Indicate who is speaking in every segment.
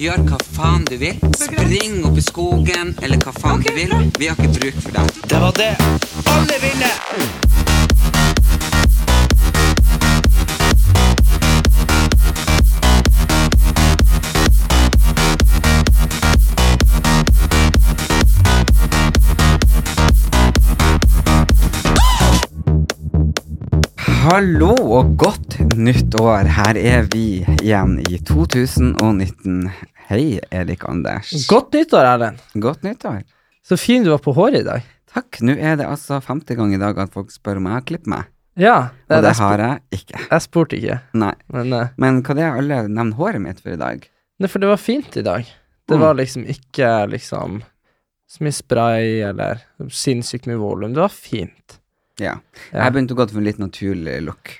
Speaker 1: Gjør hva faen du vil. Spring opp i skogen eller hva faen du vil. Vi har ikke bruk for deg.
Speaker 2: Det var det alle ville!
Speaker 1: Hallo og godt nytt år. Her er vi igjen i 2019. Hei, Erik Anders.
Speaker 3: Godt nyttår, Erlend.
Speaker 1: Godt nyttår.
Speaker 3: Så fin du var på håret i dag.
Speaker 1: Takk. Nå er det altså femte gang i dag at folk spør om jeg har klippet meg.
Speaker 3: Ja,
Speaker 1: Og det
Speaker 3: jeg, spur-
Speaker 1: har jeg ikke.
Speaker 3: jeg spurte ikke,
Speaker 1: Nei.
Speaker 3: men eh,
Speaker 1: Men hva det er alle nevner håret mitt for i dag?
Speaker 3: Nei, for det var fint i dag. Det
Speaker 1: Mm.
Speaker 3: var liksom ikke liksom så mye spray eller sinnssykt mye volum. Det var fint.
Speaker 1: Ja.
Speaker 3: Ja.
Speaker 1: Jeg begynte å gå for en litt naturlig look.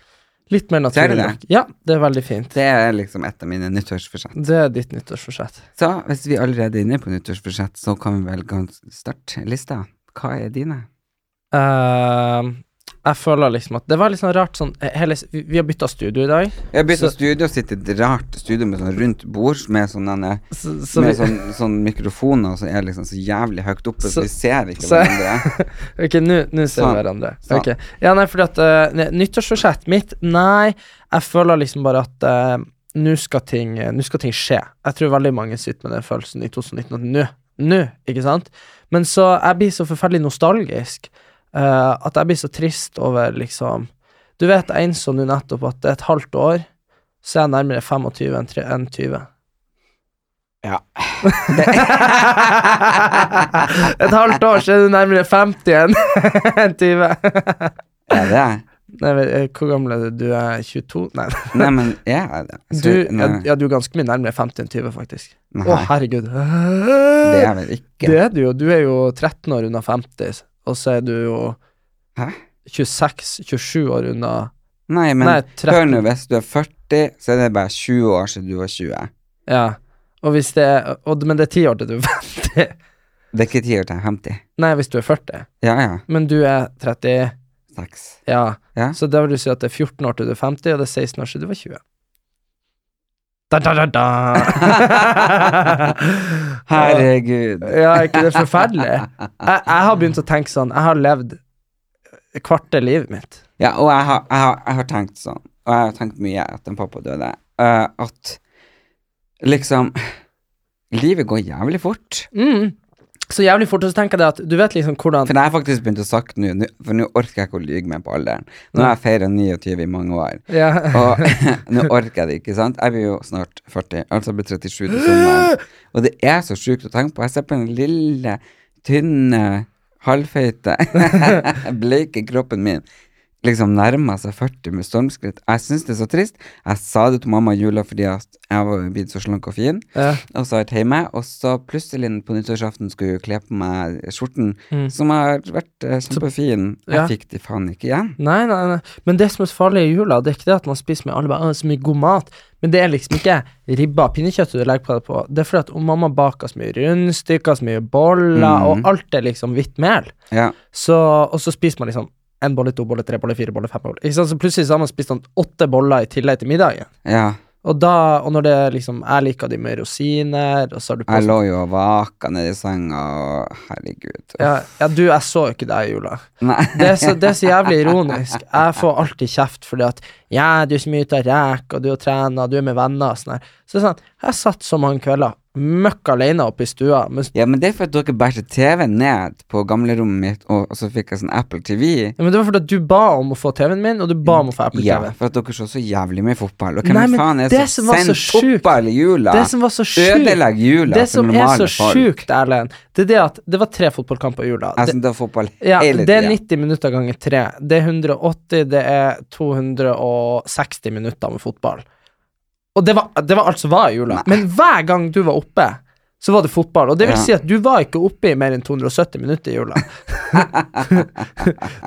Speaker 3: Litt mer
Speaker 1: Ser du
Speaker 3: naturlig.
Speaker 1: det?
Speaker 3: nok. Ja, det er veldig fint.
Speaker 1: Det er liksom et av mine nyttårsforsett.
Speaker 3: Det er ditt nyttårsforsett.
Speaker 1: Så hvis vi allerede er inne på nyttårsforsett, så kan vi vel gans- starte lista. Hva er dine?
Speaker 3: Ehm, jeg føler liksom at Det var litt sånn rart sånn eh, hele, s- Vi vi har bytta studio i dag.
Speaker 1: Jeg bytta
Speaker 3: Så-
Speaker 1: studio, sitter i et rart studio med sånn rundt bord med sånne
Speaker 3: Så, så,
Speaker 1: med
Speaker 3: vi,
Speaker 1: sånn, sånn mikrofoner som er liksom så jævlig høyt oppe, så,
Speaker 3: Så-
Speaker 1: vi ser ikke
Speaker 3: så-
Speaker 1: hverandre.
Speaker 3: ok, nå nå ser
Speaker 1: Sånn.
Speaker 3: vi hverandre.
Speaker 1: Sånn.
Speaker 3: Ok. Ja, nei, fordi at eh, ne- Nyttårsforsettet mitt Nei, jeg føler liksom bare at eh, nå skal, ting- eh, nå skal ting skje. Jeg tror veldig mange sitter med den følelsen i 2019 at nå, nå, ikke sant? Men så jeg blir så forferdelig nostalgisk eh, at jeg blir så trist over liksom Du vet, jeg innså nå nettopp at et halvt år så er jeg nærmere 25 enn tre- enn 20.
Speaker 1: Ja.
Speaker 3: Et halvt år så er du nærmere 50 enn enn 20.
Speaker 1: Er det?
Speaker 3: Nei, vel, eh, hvor gammel er du? Du er 22? Nei.
Speaker 1: Nei, men er jeg det? Så-
Speaker 3: Du, ja,
Speaker 1: nei,
Speaker 3: ja, du er ganske mye nærmere 50 enn 20, faktisk. Å,
Speaker 1: nei,
Speaker 3: herregud.
Speaker 1: det
Speaker 3: Det
Speaker 1: er vel ikke
Speaker 3: du jo. Du er jo 13 år unna 50, og så er du jo
Speaker 1: Hæ?
Speaker 3: 26-27 år unna
Speaker 1: Nei, men
Speaker 3: Nei,
Speaker 1: hør
Speaker 3: 13.
Speaker 1: nå, hvis du er 40, så er det bare 20 år siden du var 20.
Speaker 3: Ja. Og hvis det er, og, men det er 10 år til du er 50.
Speaker 1: Det er ikke 10 år til jeg er 50.
Speaker 3: Nei, hvis du er 40.
Speaker 1: Ja, ja.
Speaker 3: Men du er 30.
Speaker 1: Seks.
Speaker 3: Ja.
Speaker 1: Ja.
Speaker 3: Så da vil du si at det er 14 år til du er 50, og det er 16 år til du var 20. Da, da, da, da.
Speaker 1: Herregud.
Speaker 3: Ja, er ikke det forferdelig? Jeg, jeg har begynt å tenke sånn Jeg har levd kvarte livet mitt.
Speaker 1: Ja, og jeg har, jeg, har, jeg har tenkt sånn, og jeg har tenkt mye etter at pappa døde, eh, at liksom Livet går jævlig fort.
Speaker 3: Mm. Så jævlig fort, og så tenker jeg det at du vet liksom hvordan
Speaker 1: For jeg har faktisk begynt å sagt nå, nå- for nå orker jeg ikke å lyge meg på alderen. Nå har jeg feira 29 i mange år,
Speaker 3: ja.
Speaker 1: og nå orker jeg det ikke, sant? Jeg blir jo snart 40, altså blir 37 til sommeren. Og det er så sjukt å tenke på. Jeg ser på den lille, tynne, halvfeite, bleike kroppen min. Liksom nærmer seg 40 med stormskritt. Jeg syns det er så trist. Jeg sa det til mamma i jula fordi at jeg var blitt så slank og fin,
Speaker 3: Ja.
Speaker 1: og så har jeg vært hjemme. Og så plutselig på nyttårsaften skulle jeg kle på meg skjorten, som har vært eh, kjempefin. Jeg
Speaker 3: Ja.
Speaker 1: fikk de faen ikke igjen.
Speaker 3: Nei, nei, nei. Men det som er så farlig i jula, det er ikke det at man spiser med alle bare, «Å, så mye god mat, men det er liksom ikke ribba, pinnekjøttet du legger på det på. Det er fordi at om mamma baker så mye rundstykker, så mye boller, og alt er liksom hvitt mel.
Speaker 1: Ja.
Speaker 3: Så, og så spiser man liksom en bolle, to boller, tre boller, fire boller, fem boller. Ikke sant? Så plutselig så har man spist sånn åtte boller i tillegg til middagen.
Speaker 1: ja.
Speaker 3: Og da, og når det er liksom Jeg liker de med rosiner, og så har du på
Speaker 1: Jeg lå jo og vaka nedi senga, og herregud.
Speaker 3: ja, ja, du, jeg så jo ikke deg i jula.
Speaker 1: Nei.
Speaker 3: Det er, så, det er så jævlig ironisk. Jeg får alltid kjeft fordi at Ja, du er så mye ute og reker, og du er og trener, du er med venner og sånn her. Så det er sånn, jeg satt så mange kvelder møkk alene oppe i stua mens
Speaker 1: Ja, men det er for at dere bæsjer TV ned på gamlerommet mitt, og, og så fikk jeg sånn Apple TV.
Speaker 3: ja, Men det var fordi at du ba om å få TV-en min, og du ba om å få
Speaker 1: Ja,
Speaker 3: Apple-TV.
Speaker 1: for at dere så så jævlig mye fotball. Og hvem
Speaker 3: Nei, men
Speaker 1: faen er
Speaker 3: det
Speaker 1: så
Speaker 3: som var så
Speaker 1: sent
Speaker 3: sjukt-
Speaker 1: fotball i jula?
Speaker 3: Det som var så sjukt
Speaker 1: Ødelegg jula
Speaker 3: Det
Speaker 1: for
Speaker 3: som er
Speaker 1: normale
Speaker 3: så
Speaker 1: folk.
Speaker 3: sjukt, Erlend, det er det at det var tre fotballkamper i jula.
Speaker 1: Jeg
Speaker 3: Det,
Speaker 1: synes det var fotball
Speaker 3: ja,
Speaker 1: hele
Speaker 3: det er
Speaker 1: tida.
Speaker 3: 90 minutter ganger tre. Det er 180, det er 260 minutter med fotball. Og det var, det var alt som var i
Speaker 1: Nei.
Speaker 3: jula. Men hver gang du var oppe, så var det fotball. Og det vil
Speaker 1: Ja.
Speaker 3: si at du var ikke oppe i mer enn 270 minutter i jula.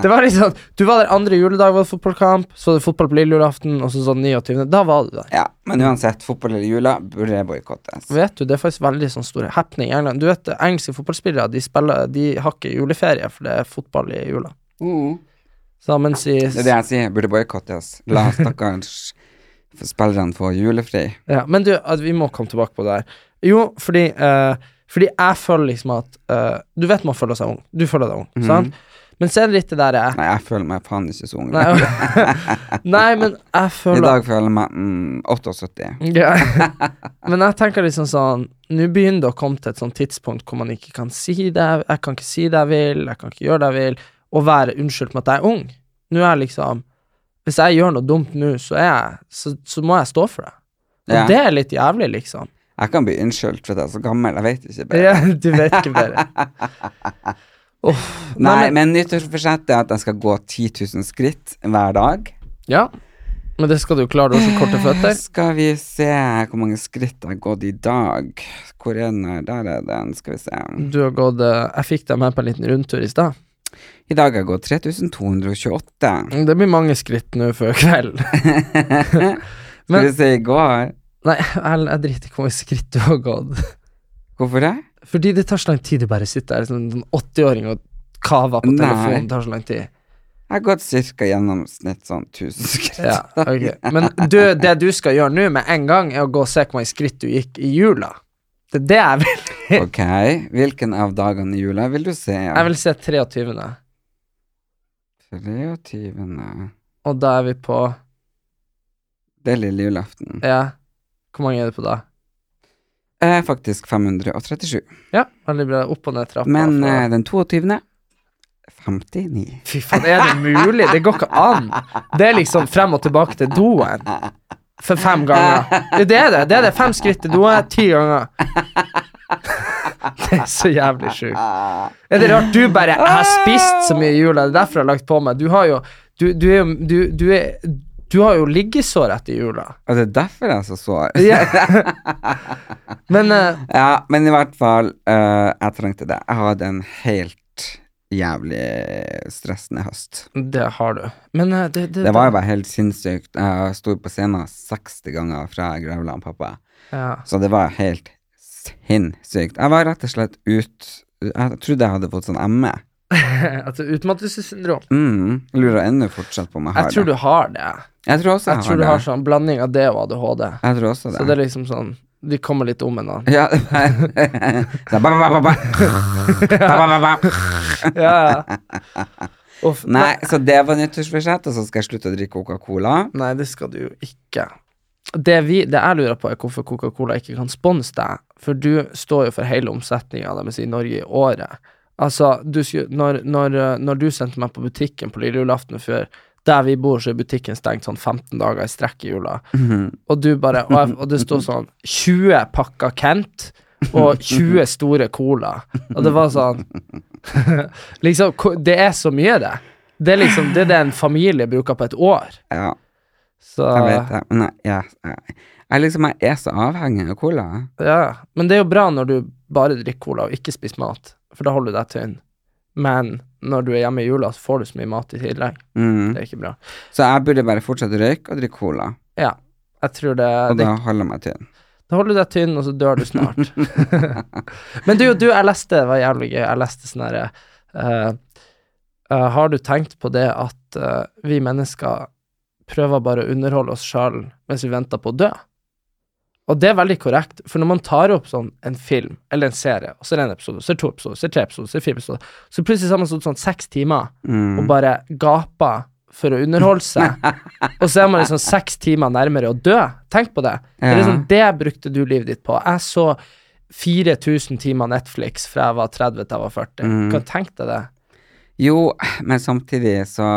Speaker 3: det var liksom Du var der andre juledag, var det fotballkamp, så var det fotball på lille julaften, og så sånn 29. Da var du der.
Speaker 1: Ja, men uansett, fotball eller jula burde boikottes.
Speaker 3: Vet du, det er faktisk veldig sånn stor happening i England. Du vet, Engelske fotballspillere de spiller, de har ikke juleferie, for det er fotball i jula.
Speaker 1: Mm.
Speaker 3: Så mens i
Speaker 1: Det er det jeg sier, burde boikottes. La stakkars spillerne får julefri.
Speaker 3: Ja, men du, at vi må komme tilbake på det her. Jo, fordi, eh, fordi jeg føler liksom at eh, Du vet man føler seg ung. Du føler deg ung,
Speaker 1: Mhm.
Speaker 3: sant? Men så er det litt det der jeg
Speaker 1: Nei, jeg føler meg faen ikke så ung.
Speaker 3: Nei, nei men jeg
Speaker 1: I
Speaker 3: føler
Speaker 1: dag føler jeg meg mm, 78.
Speaker 3: ja. Men jeg tenker liksom sånn Nå begynner det å komme til et sånt tidspunkt hvor man ikke kan si det jeg- Jeg kan ikke si det jeg vil, jeg kan ikke gjøre det jeg vil, og være unnskyldt med at jeg er ung. Nå er jeg liksom Hvis jeg gjør noe dumt nå, så, er jeg, så, så må jeg stå for det. Og
Speaker 1: Ja.
Speaker 3: det er litt jævlig, liksom.
Speaker 1: Jeg kan bli unnskyldt for at jeg er så gammel, jeg vet ikke bedre.
Speaker 3: Ja, du vet ikke bedre. Uff.
Speaker 1: Nei, men nyttårsforsettet er at jeg skal gå 10 000 skritt hver dag.
Speaker 3: Ja, men det skal du klare. Du har så korte føtter.
Speaker 1: Skal vi se hvor mange skritt jeg har gått i dag. Hvor er den her? Der er den, skal vi se.
Speaker 3: Du har gått eh, Jeg fikk deg med på en liten rundtur i stad.
Speaker 1: I dag har jeg gått 3228.
Speaker 3: Det blir mange skritt nå før kvelden.
Speaker 1: Skal
Speaker 3: Men-
Speaker 1: vi se i går.
Speaker 3: Nei, jeg, jeg driter ikke i hvor mange skritt du har gått.
Speaker 1: Hvorfor det?
Speaker 3: Fordi det tar så lang tid å bare sitte der som en 80-åring og kave på
Speaker 1: Nei.
Speaker 3: telefonen. Det tar så lang tid.
Speaker 1: Jeg har gått ca. gjennomsnitt sånn 1000 skritt.
Speaker 3: Ja, ok. Men du, det du skal gjøre nå med en gang, er å gå og se hvor mange skritt du gikk i jula. Det er det jeg vil.
Speaker 1: Ok, hvilken av dagene i jula vil du se?
Speaker 3: Jeg vil se 23.
Speaker 1: 23.
Speaker 3: Og da er vi på
Speaker 1: Det er lille julaften.
Speaker 3: Ja, hvor mange er det på da?
Speaker 1: Eh, faktisk 537.
Speaker 3: Ja, veldig bra. Opp og ned trappa.
Speaker 1: Men
Speaker 3: fra-
Speaker 1: eh, den 22. 59.
Speaker 3: Fy faen, er det mulig? Det går ikke an. Det er liksom frem og tilbake til doen. For fem ganger. Det er det. Det er det. Fem skritt til doen, ti ganger. Det er så jævlig sjukt.
Speaker 1: Ah.
Speaker 3: Er det rart du bare har spist så mye i jula? Det er derfor jeg har lagt på meg. Du har jo Du, du, er, jo- du, du, er, du har jo liggesår etter jula.
Speaker 1: Og det er derfor jeg er så sår.
Speaker 3: Ja. Men eh,
Speaker 1: Ja, men i hvert fall, eh, jeg trengte det. Jeg hadde en helt jævlig stressende høst.
Speaker 3: Det har du. Men eh, det, det,
Speaker 1: Det var jo bare helt sinnssykt. Jeg sto på scenen 60 ganger fra jeg grevla han pappa,
Speaker 3: ja.
Speaker 1: så det var helt sinnssykt. Jeg var rett og slett ut Jeg trodde jeg hadde fått sånn ME.
Speaker 3: Altså, Utmattelsessyndrom.
Speaker 1: Mm, lurer ennå fortsatt på om jeg har
Speaker 3: Jeg tror
Speaker 1: det.
Speaker 3: du har det.
Speaker 1: Jeg tror også jeg,
Speaker 3: Jeg tror du
Speaker 1: har
Speaker 3: har
Speaker 1: det.
Speaker 3: sånn blanding av det og ADHD.
Speaker 1: Jeg tror også det.
Speaker 3: Så det er liksom sånn De kommer litt om hverandre.
Speaker 1: Ja. Så ba, ba, ba, ba. Ba, ba, ba, ba.
Speaker 3: ja, ja. Uff,
Speaker 1: Nei, så det var nyttårsforsett, og så skal jeg slutte å drikke Coca-Cola.
Speaker 3: Nei, det skal du jo ikke. Det, vi, det jeg lurer på, er hvorfor Coca-Cola ikke kan sponse deg. For du står jo for hele omsetninga deres i Norge i året. Altså, du, skulle- når, når, eh, når du sendte meg på butikken på lille julaften før der vi bor, så er butikken stengt sånn 15 dager i strekk i jula. Og du bare Og, jeg, og det sto sånn 20 pakker Kent og 20 store Cola. Og det var sånn Liksom, ko- det er så mye, det. Det er liksom det, er det en familie bruker på et år.
Speaker 1: Ja,
Speaker 3: Så
Speaker 1: jeg vet det. Men jeg, jeg, jeg, jeg liksom jeg er så avhengig av cola.
Speaker 3: Ja, men det er jo bra når du bare drikker cola og ikke spiser mat, for da holder du deg tynn. Men når du er hjemme i jula, så får du så mye mat i tillegg.
Speaker 1: Mm.
Speaker 3: Det er ikke bra.
Speaker 1: Så jeg burde bare fortsette å røyke og drikke cola,
Speaker 3: Ja, jeg tror det,
Speaker 1: og
Speaker 3: det
Speaker 1: da holder jeg meg tynn.
Speaker 3: Da holder du deg tynn, og så dør du snart. men du, du, jeg leste, det var jævlig gøy, jeg leste sånn herre Har du tenkt på det at eh, vi mennesker prøver bare å underholde oss sjøl mens vi venter på å dø? Og det er veldig korrekt, for når man tar opp sånn en film eller en serie, og så er det en episode, så er det to episoder, så er det tre episoder, så er det fire episoder, så plutselig så har man stått sånn seks timer
Speaker 1: Mm.
Speaker 3: og bare gaper for å underholde seg, og så er man liksom seks timer nærmere å dø. Tenk på det. Det, er
Speaker 1: Ja.
Speaker 3: liksom, det brukte du livet ditt på. Jeg så 4000 timer Netflix fra jeg var 30 til jeg var 40.
Speaker 1: Mm.
Speaker 3: Kan tenke deg det.
Speaker 1: Jo, men samtidig så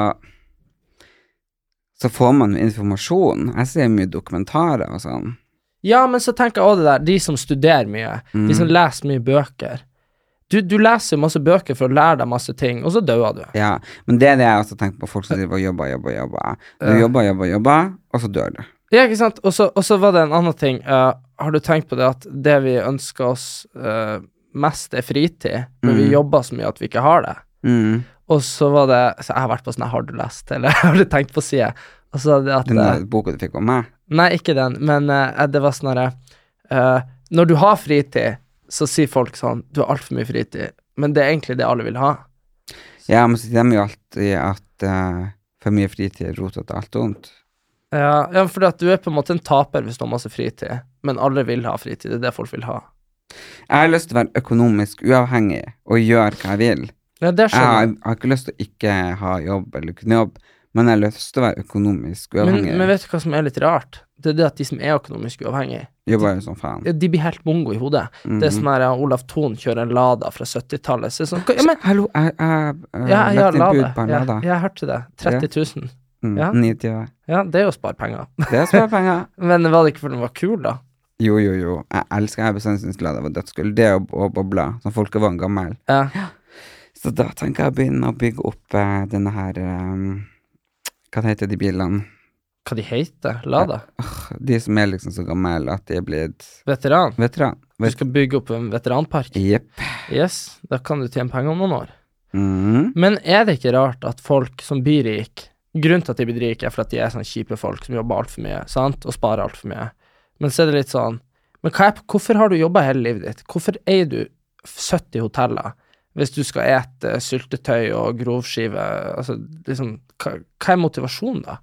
Speaker 1: så får man jo informasjon. Jeg ser mye dokumentarer og sånn.
Speaker 3: Ja, men så tenker jeg også det der, de som studerer mye, de
Speaker 1: Mm.
Speaker 3: som leser mye bøker. Du, du leser jo masse bøker for å lære deg masse ting, og så dauer du.
Speaker 1: Ja, men det er det jeg også tenker på, folk som driver og jobber, jobber, jobber. Du
Speaker 3: Ja.
Speaker 1: jobber, jobber, jobber, og så dør du.
Speaker 3: Ja, ikke sant? Og så og så var det en annen ting. eh, har du tenkt på det at det vi ønsker oss eh, mest, er fritid, men vi
Speaker 1: Mm.
Speaker 3: jobber så mye at vi ikke har det?
Speaker 1: Mm.
Speaker 3: Og så var det så Jeg har vært på sånn her, Har du lest, eller har du tenkt på side? Og så var det at
Speaker 1: Den
Speaker 3: eh,
Speaker 1: der boka du fikk om meg.
Speaker 3: Nei, ikke den, men eh, det var sånn herre eh, Når du har fritid, så sier folk sånn Du har altfor mye fritid, men det er egentlig det alle vil ha.
Speaker 1: Ja, men så sier de jo alltid at eh, for mye fritid er rota til alt ondt.
Speaker 3: Ja, ja for at du er på en måte en taper hvis du har masse fritid, men alle vil ha fritid. Det er det folk vil ha.
Speaker 1: Jeg har lyst til å være økonomisk uavhengig og gjøre hva jeg vil.
Speaker 3: Ja, det
Speaker 1: Jeg har,
Speaker 3: skjønner jeg.
Speaker 1: jeg har ikke lyst til å ikke ha jobb eller kunne jobb, men jeg har lyst til å være økonomisk
Speaker 3: Men,
Speaker 1: uavhengig.
Speaker 3: men vet du hva som er litt rart? Det er det at de som er økonomisk uavhengige,
Speaker 1: Jobber jo som faen. Mhm.
Speaker 3: ja, de blir helt mongo i hodet. Det er
Speaker 1: Mm.
Speaker 3: sånn her ja, Olaf Thon kjører en Lada fra 70-tallet. Så er det sånn, hva- ja, men
Speaker 1: Hallo, jeg har
Speaker 3: ja, ja,
Speaker 1: lagt inn bud
Speaker 3: Lada.
Speaker 1: på en
Speaker 3: Ja,
Speaker 1: Lada.
Speaker 3: jeg hørte det. 30 000.
Speaker 1: Mm,
Speaker 3: ja.
Speaker 1: 90.
Speaker 3: Ja, det er jo å spare penger.
Speaker 1: Det er sparepenger.
Speaker 3: Men var det ikke fordi den var kul, da?
Speaker 1: Jo, jo, jo. Jeg elsker jeg bestandig synes Lada var dødsgull. Det og, og bobla, som folkevogn gammel.
Speaker 3: Ja.
Speaker 1: Så da tenker jeg å begynne å bygge opp eh, denne her eh, Hva heter de bilene?
Speaker 3: Hva de heter? Lada?
Speaker 1: De som er liksom så gamle at de er blitt
Speaker 3: Veteran?
Speaker 1: veteran.
Speaker 3: Du
Speaker 1: Vet,
Speaker 3: skal bygge opp en veteranpark?
Speaker 1: Jepp.
Speaker 3: Yes, da kan du tjene penger om noen år.
Speaker 1: Mm.
Speaker 3: Men er det ikke rart at folk som blir rike Grunnen til at de blir rike, er for at de er sånne kjipe folk som jobber altfor mye sant? og sparer altfor mye. Men så er det litt sånn Men hva er, hvorfor har du jobba hele livet ditt? Hvorfor eier du 70 hoteller hvis du skal ete eh, syltetøy og grovskive? Altså, liksom, hva, hva er motivasjonen, da?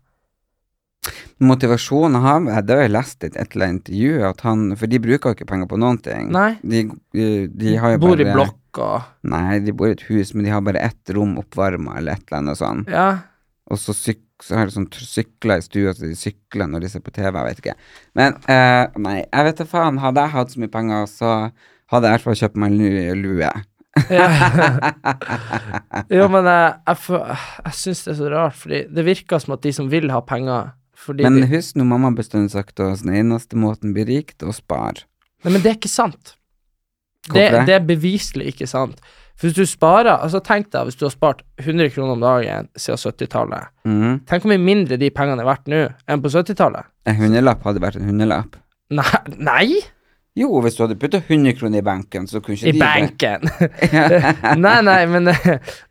Speaker 1: Motivasjonen har jeg, det har jeg lest i et, et eller annet intervju, at han For de bruker jo ikke penger på noen ting.
Speaker 3: Nei,
Speaker 1: De, de, de har jo
Speaker 3: bor
Speaker 1: bare
Speaker 3: i blokk og
Speaker 1: Nei, de bor i et hus, men de har bare ett rom oppvarma eller et eller annet sånn.
Speaker 3: Ja.
Speaker 1: Og så, syk, så har de sånn tr- sykler i stua, så de sykler når de ser på TV, jeg vet ikke. Men eh, nei, jeg vet da faen. Hadde jeg hatt så mye penger, så hadde jeg i hvert fall kjøpt meg en ny lue.
Speaker 3: Jo, men jeg, jeg, fø- jeg syns det er så rart, fordi det virker som at de som vil ha penger fordi
Speaker 1: Men
Speaker 3: de,
Speaker 1: husk nå, mamma bestandig sagt til oss, den eneste måten å bli rik, det er å spare.
Speaker 3: Nei, men det er ikke sant. Det,
Speaker 1: Hvorfor det?
Speaker 3: det er beviselig ikke sant. For hvis du sparer, altså tenk deg hvis du har spart 100 kroner om dagen siden 70-tallet.
Speaker 1: Mhm.
Speaker 3: Tenk hvor mye mindre de pengene er verdt nå enn på 70-tallet.
Speaker 1: En hundrelapp hadde vært en hundrelapp.
Speaker 3: Nei, nei!
Speaker 1: Jo, hvis du hadde putta 100 kroner i benken, så kunne ikke
Speaker 3: I
Speaker 1: de
Speaker 3: banken! nei, nei, men Nei,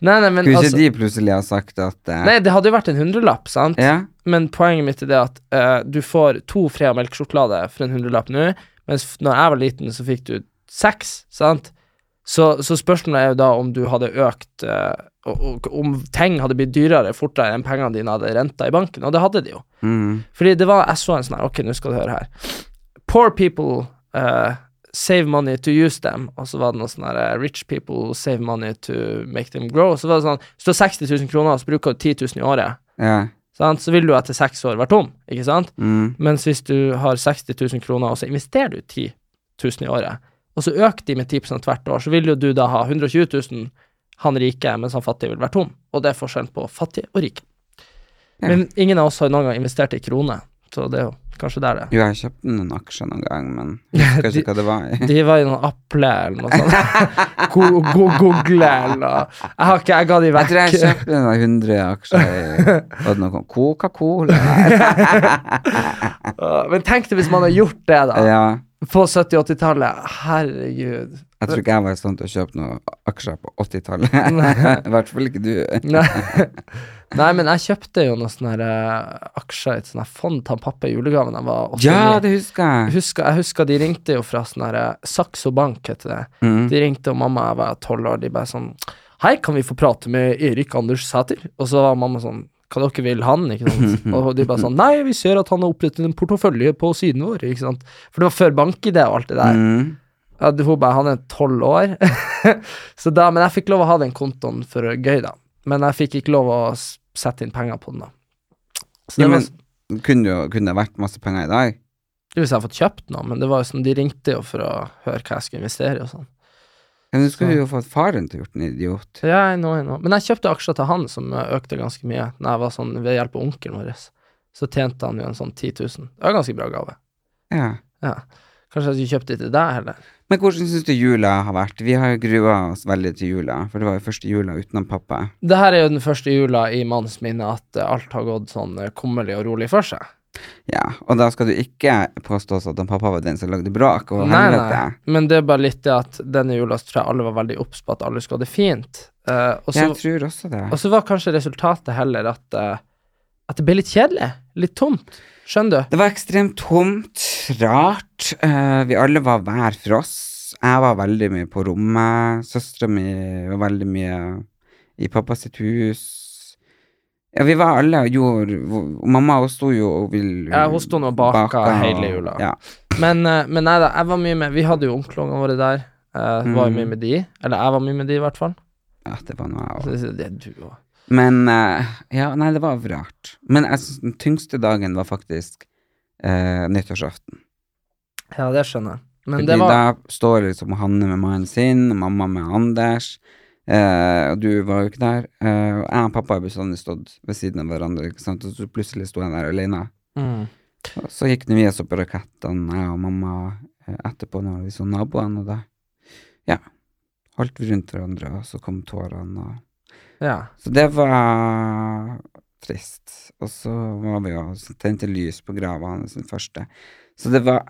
Speaker 3: nei, men
Speaker 1: Kunne
Speaker 3: altså
Speaker 1: ikke de plutselig ha sagt at eh,
Speaker 3: Nei, det hadde jo vært en hundrelapp, sant?
Speaker 1: Ja,
Speaker 3: Men poenget mitt er det at eh, du får to Frea melkesjokolade for en hundrelapp nå, mens f- når jeg var liten, så fikk du seks, sant? Så, så spørsmålet er jo da om du hadde økt eh, og, og, Om ting hadde blitt dyrere fortere enn pengene dine hadde renta i banken, og det hadde de jo.
Speaker 1: mm,
Speaker 3: Fordi det var Jeg så en sånn her Ok, nå skal du høre her. Poor people eh, save money to use them. Og så var det noe sånn her eh, Rich people save money to make them grow. Og så var det sånn Hvis du har 60 000 kroner, så bruker du 10 000 i året.
Speaker 1: ja,
Speaker 3: Sant? Så vil du etter seks år være tom, ikke sant?
Speaker 1: mm,
Speaker 3: Mens hvis du har 60 000 kroner, og så investerer du 10 000 i året, og så øker de med 10 hvert år, så vil jo du da ha 120 000, han rike, mens han fattige vil være tom. Og det er forskjellen på fattige og rike.
Speaker 1: Ja.
Speaker 3: Men ingen av oss har noen gang investert i kroner, så det er jo kanskje der det er.
Speaker 1: Jo, jeg kjøpte noen aksjer noen gang, men jeg husker
Speaker 3: De-
Speaker 1: ikke hva det var. i.
Speaker 3: De var i noen Aple eller noe sånt. Go go Google eller noe. Jeg har ikke, jeg ga de
Speaker 1: Jeg tror jeg
Speaker 3: vekk.
Speaker 1: kjøpte noen 100 aksjer i var det noe sånt? Coca-Cola. Nei,
Speaker 3: Men tenk deg hvis man hadde gjort det, da.
Speaker 1: Ja,
Speaker 3: På 70-80-tallet. Herregud.
Speaker 1: jeg tror ikke jeg var i stand til å kjøpe noen aksjer på 80-tallet. I hvert fall ikke du.
Speaker 3: Nei. Nei, men jeg kjøpte jo noen sånne her, eh, aksjer i et sånt her fond til han pappa i julegave da jeg var 89.
Speaker 1: Ja, det husker
Speaker 3: jeg,
Speaker 1: jeg.
Speaker 3: husker, jeg husker de ringte jo fra sånn her eh, Saxo Bank, heter det.
Speaker 1: Mm.
Speaker 3: De ringte, og mamma jeg var tolv år, de bare sånn Hei, kan vi få prate med Erik Anders Sæter? Og så var mamma sånn Hva dere vil han? Ikke sant? Og de bare sånn Nei, vi ser at han har opprettet en portefølje på siden vår, ikke sant. For det var før bank-ID og alt det der.
Speaker 1: Mm.
Speaker 3: Ja, du- hun bare, han er tolv år. så da, men jeg fikk lov å ha den kontoen for gøy, da. Men jeg fikk ikke lov å s- sette inn penger på den, da. Så det
Speaker 1: Jo,
Speaker 3: var,
Speaker 1: men
Speaker 3: s-
Speaker 1: kunne jo- kunne det vært masse penger i dag?
Speaker 3: Hvis jeg hadde fått kjøpt noe, men det var jo sånn, de ringte jo for å høre hva jeg skulle investere i og sånn.
Speaker 1: Men du skulle jo fått faren til å gjort en idiot.
Speaker 3: Så ja, jeg nå, jeg nå. Men jeg kjøpte aksjer til han som eh, økte ganske mye Når jeg var sånn, ved hjelp av onkelen vår. Så tjente han jo en sånn 10 000. Det var en ganske bra gave.
Speaker 1: Ja.
Speaker 3: Ja. Kanskje jeg skulle kjøpt det til deg heller.
Speaker 1: Men hvordan syns du jula har vært? Vi har jo grua oss veldig til jula, for det var jo første jula utenom pappa.
Speaker 3: Det her er jo den første jula i mannens minne at eh, alt har gått sånn eh, kummerlig og rolig for seg.
Speaker 1: Ja, og da skal du ikke påstå oss at han pappa var den som lagde bråk og
Speaker 3: Nei,
Speaker 1: helvete.
Speaker 3: nei, men det er bare litt det at denne jula så tror jeg alle var veldig obs på at alle skulle ha det fint. Eh, og, så,
Speaker 1: Jeg tror også det.
Speaker 3: og så var kanskje resultatet heller at, eh, at det ble litt kjedelig. Litt tomt. Skjønner du?
Speaker 1: Det var ekstremt tomt, rart. eh, vi alle var hver for oss. Jeg var veldig mye på rommet. Søstera mi var veldig mye i pappas sitt hus. Ja, vi var alle og gjorde og Mamma hun sto jo og ville
Speaker 3: Ja, hun sto nå og baka hele jula.
Speaker 1: Ja.
Speaker 3: Men, eh, men nei da, jeg var mye med Vi hadde jo onklene våre der. Jeg var jo
Speaker 1: Mm.
Speaker 3: mye med de. Eller jeg var mye med de, i hvert fall.
Speaker 1: ja, det var noe jeg
Speaker 3: Så
Speaker 1: òg.
Speaker 3: Det det er du også.
Speaker 1: Men eh, Ja, nei, det var rart. Men jeg synes den tyngste dagen var faktisk eh, nyttårsaften.
Speaker 3: Ja, det skjønner jeg. Men
Speaker 1: Fordi
Speaker 3: det var
Speaker 1: da står liksom Hanne med mannen sin, mamma med Anders, eh, og du var jo ikke der. Eh, og jeg og pappa har bestandig stått ved siden av hverandre, ikke sant? og så plutselig sto jeg der alene.
Speaker 3: mm.
Speaker 1: Og så gikk nå vi og så på rakettene, jeg og mamma, eh, etterpå når vi så naboene, og da ja, holdt vi rundt hverandre, og så kom tårene. Og...
Speaker 3: Ja.
Speaker 1: Så det var trist. Og så var vi jo tente lys på grava hans den første. Så det var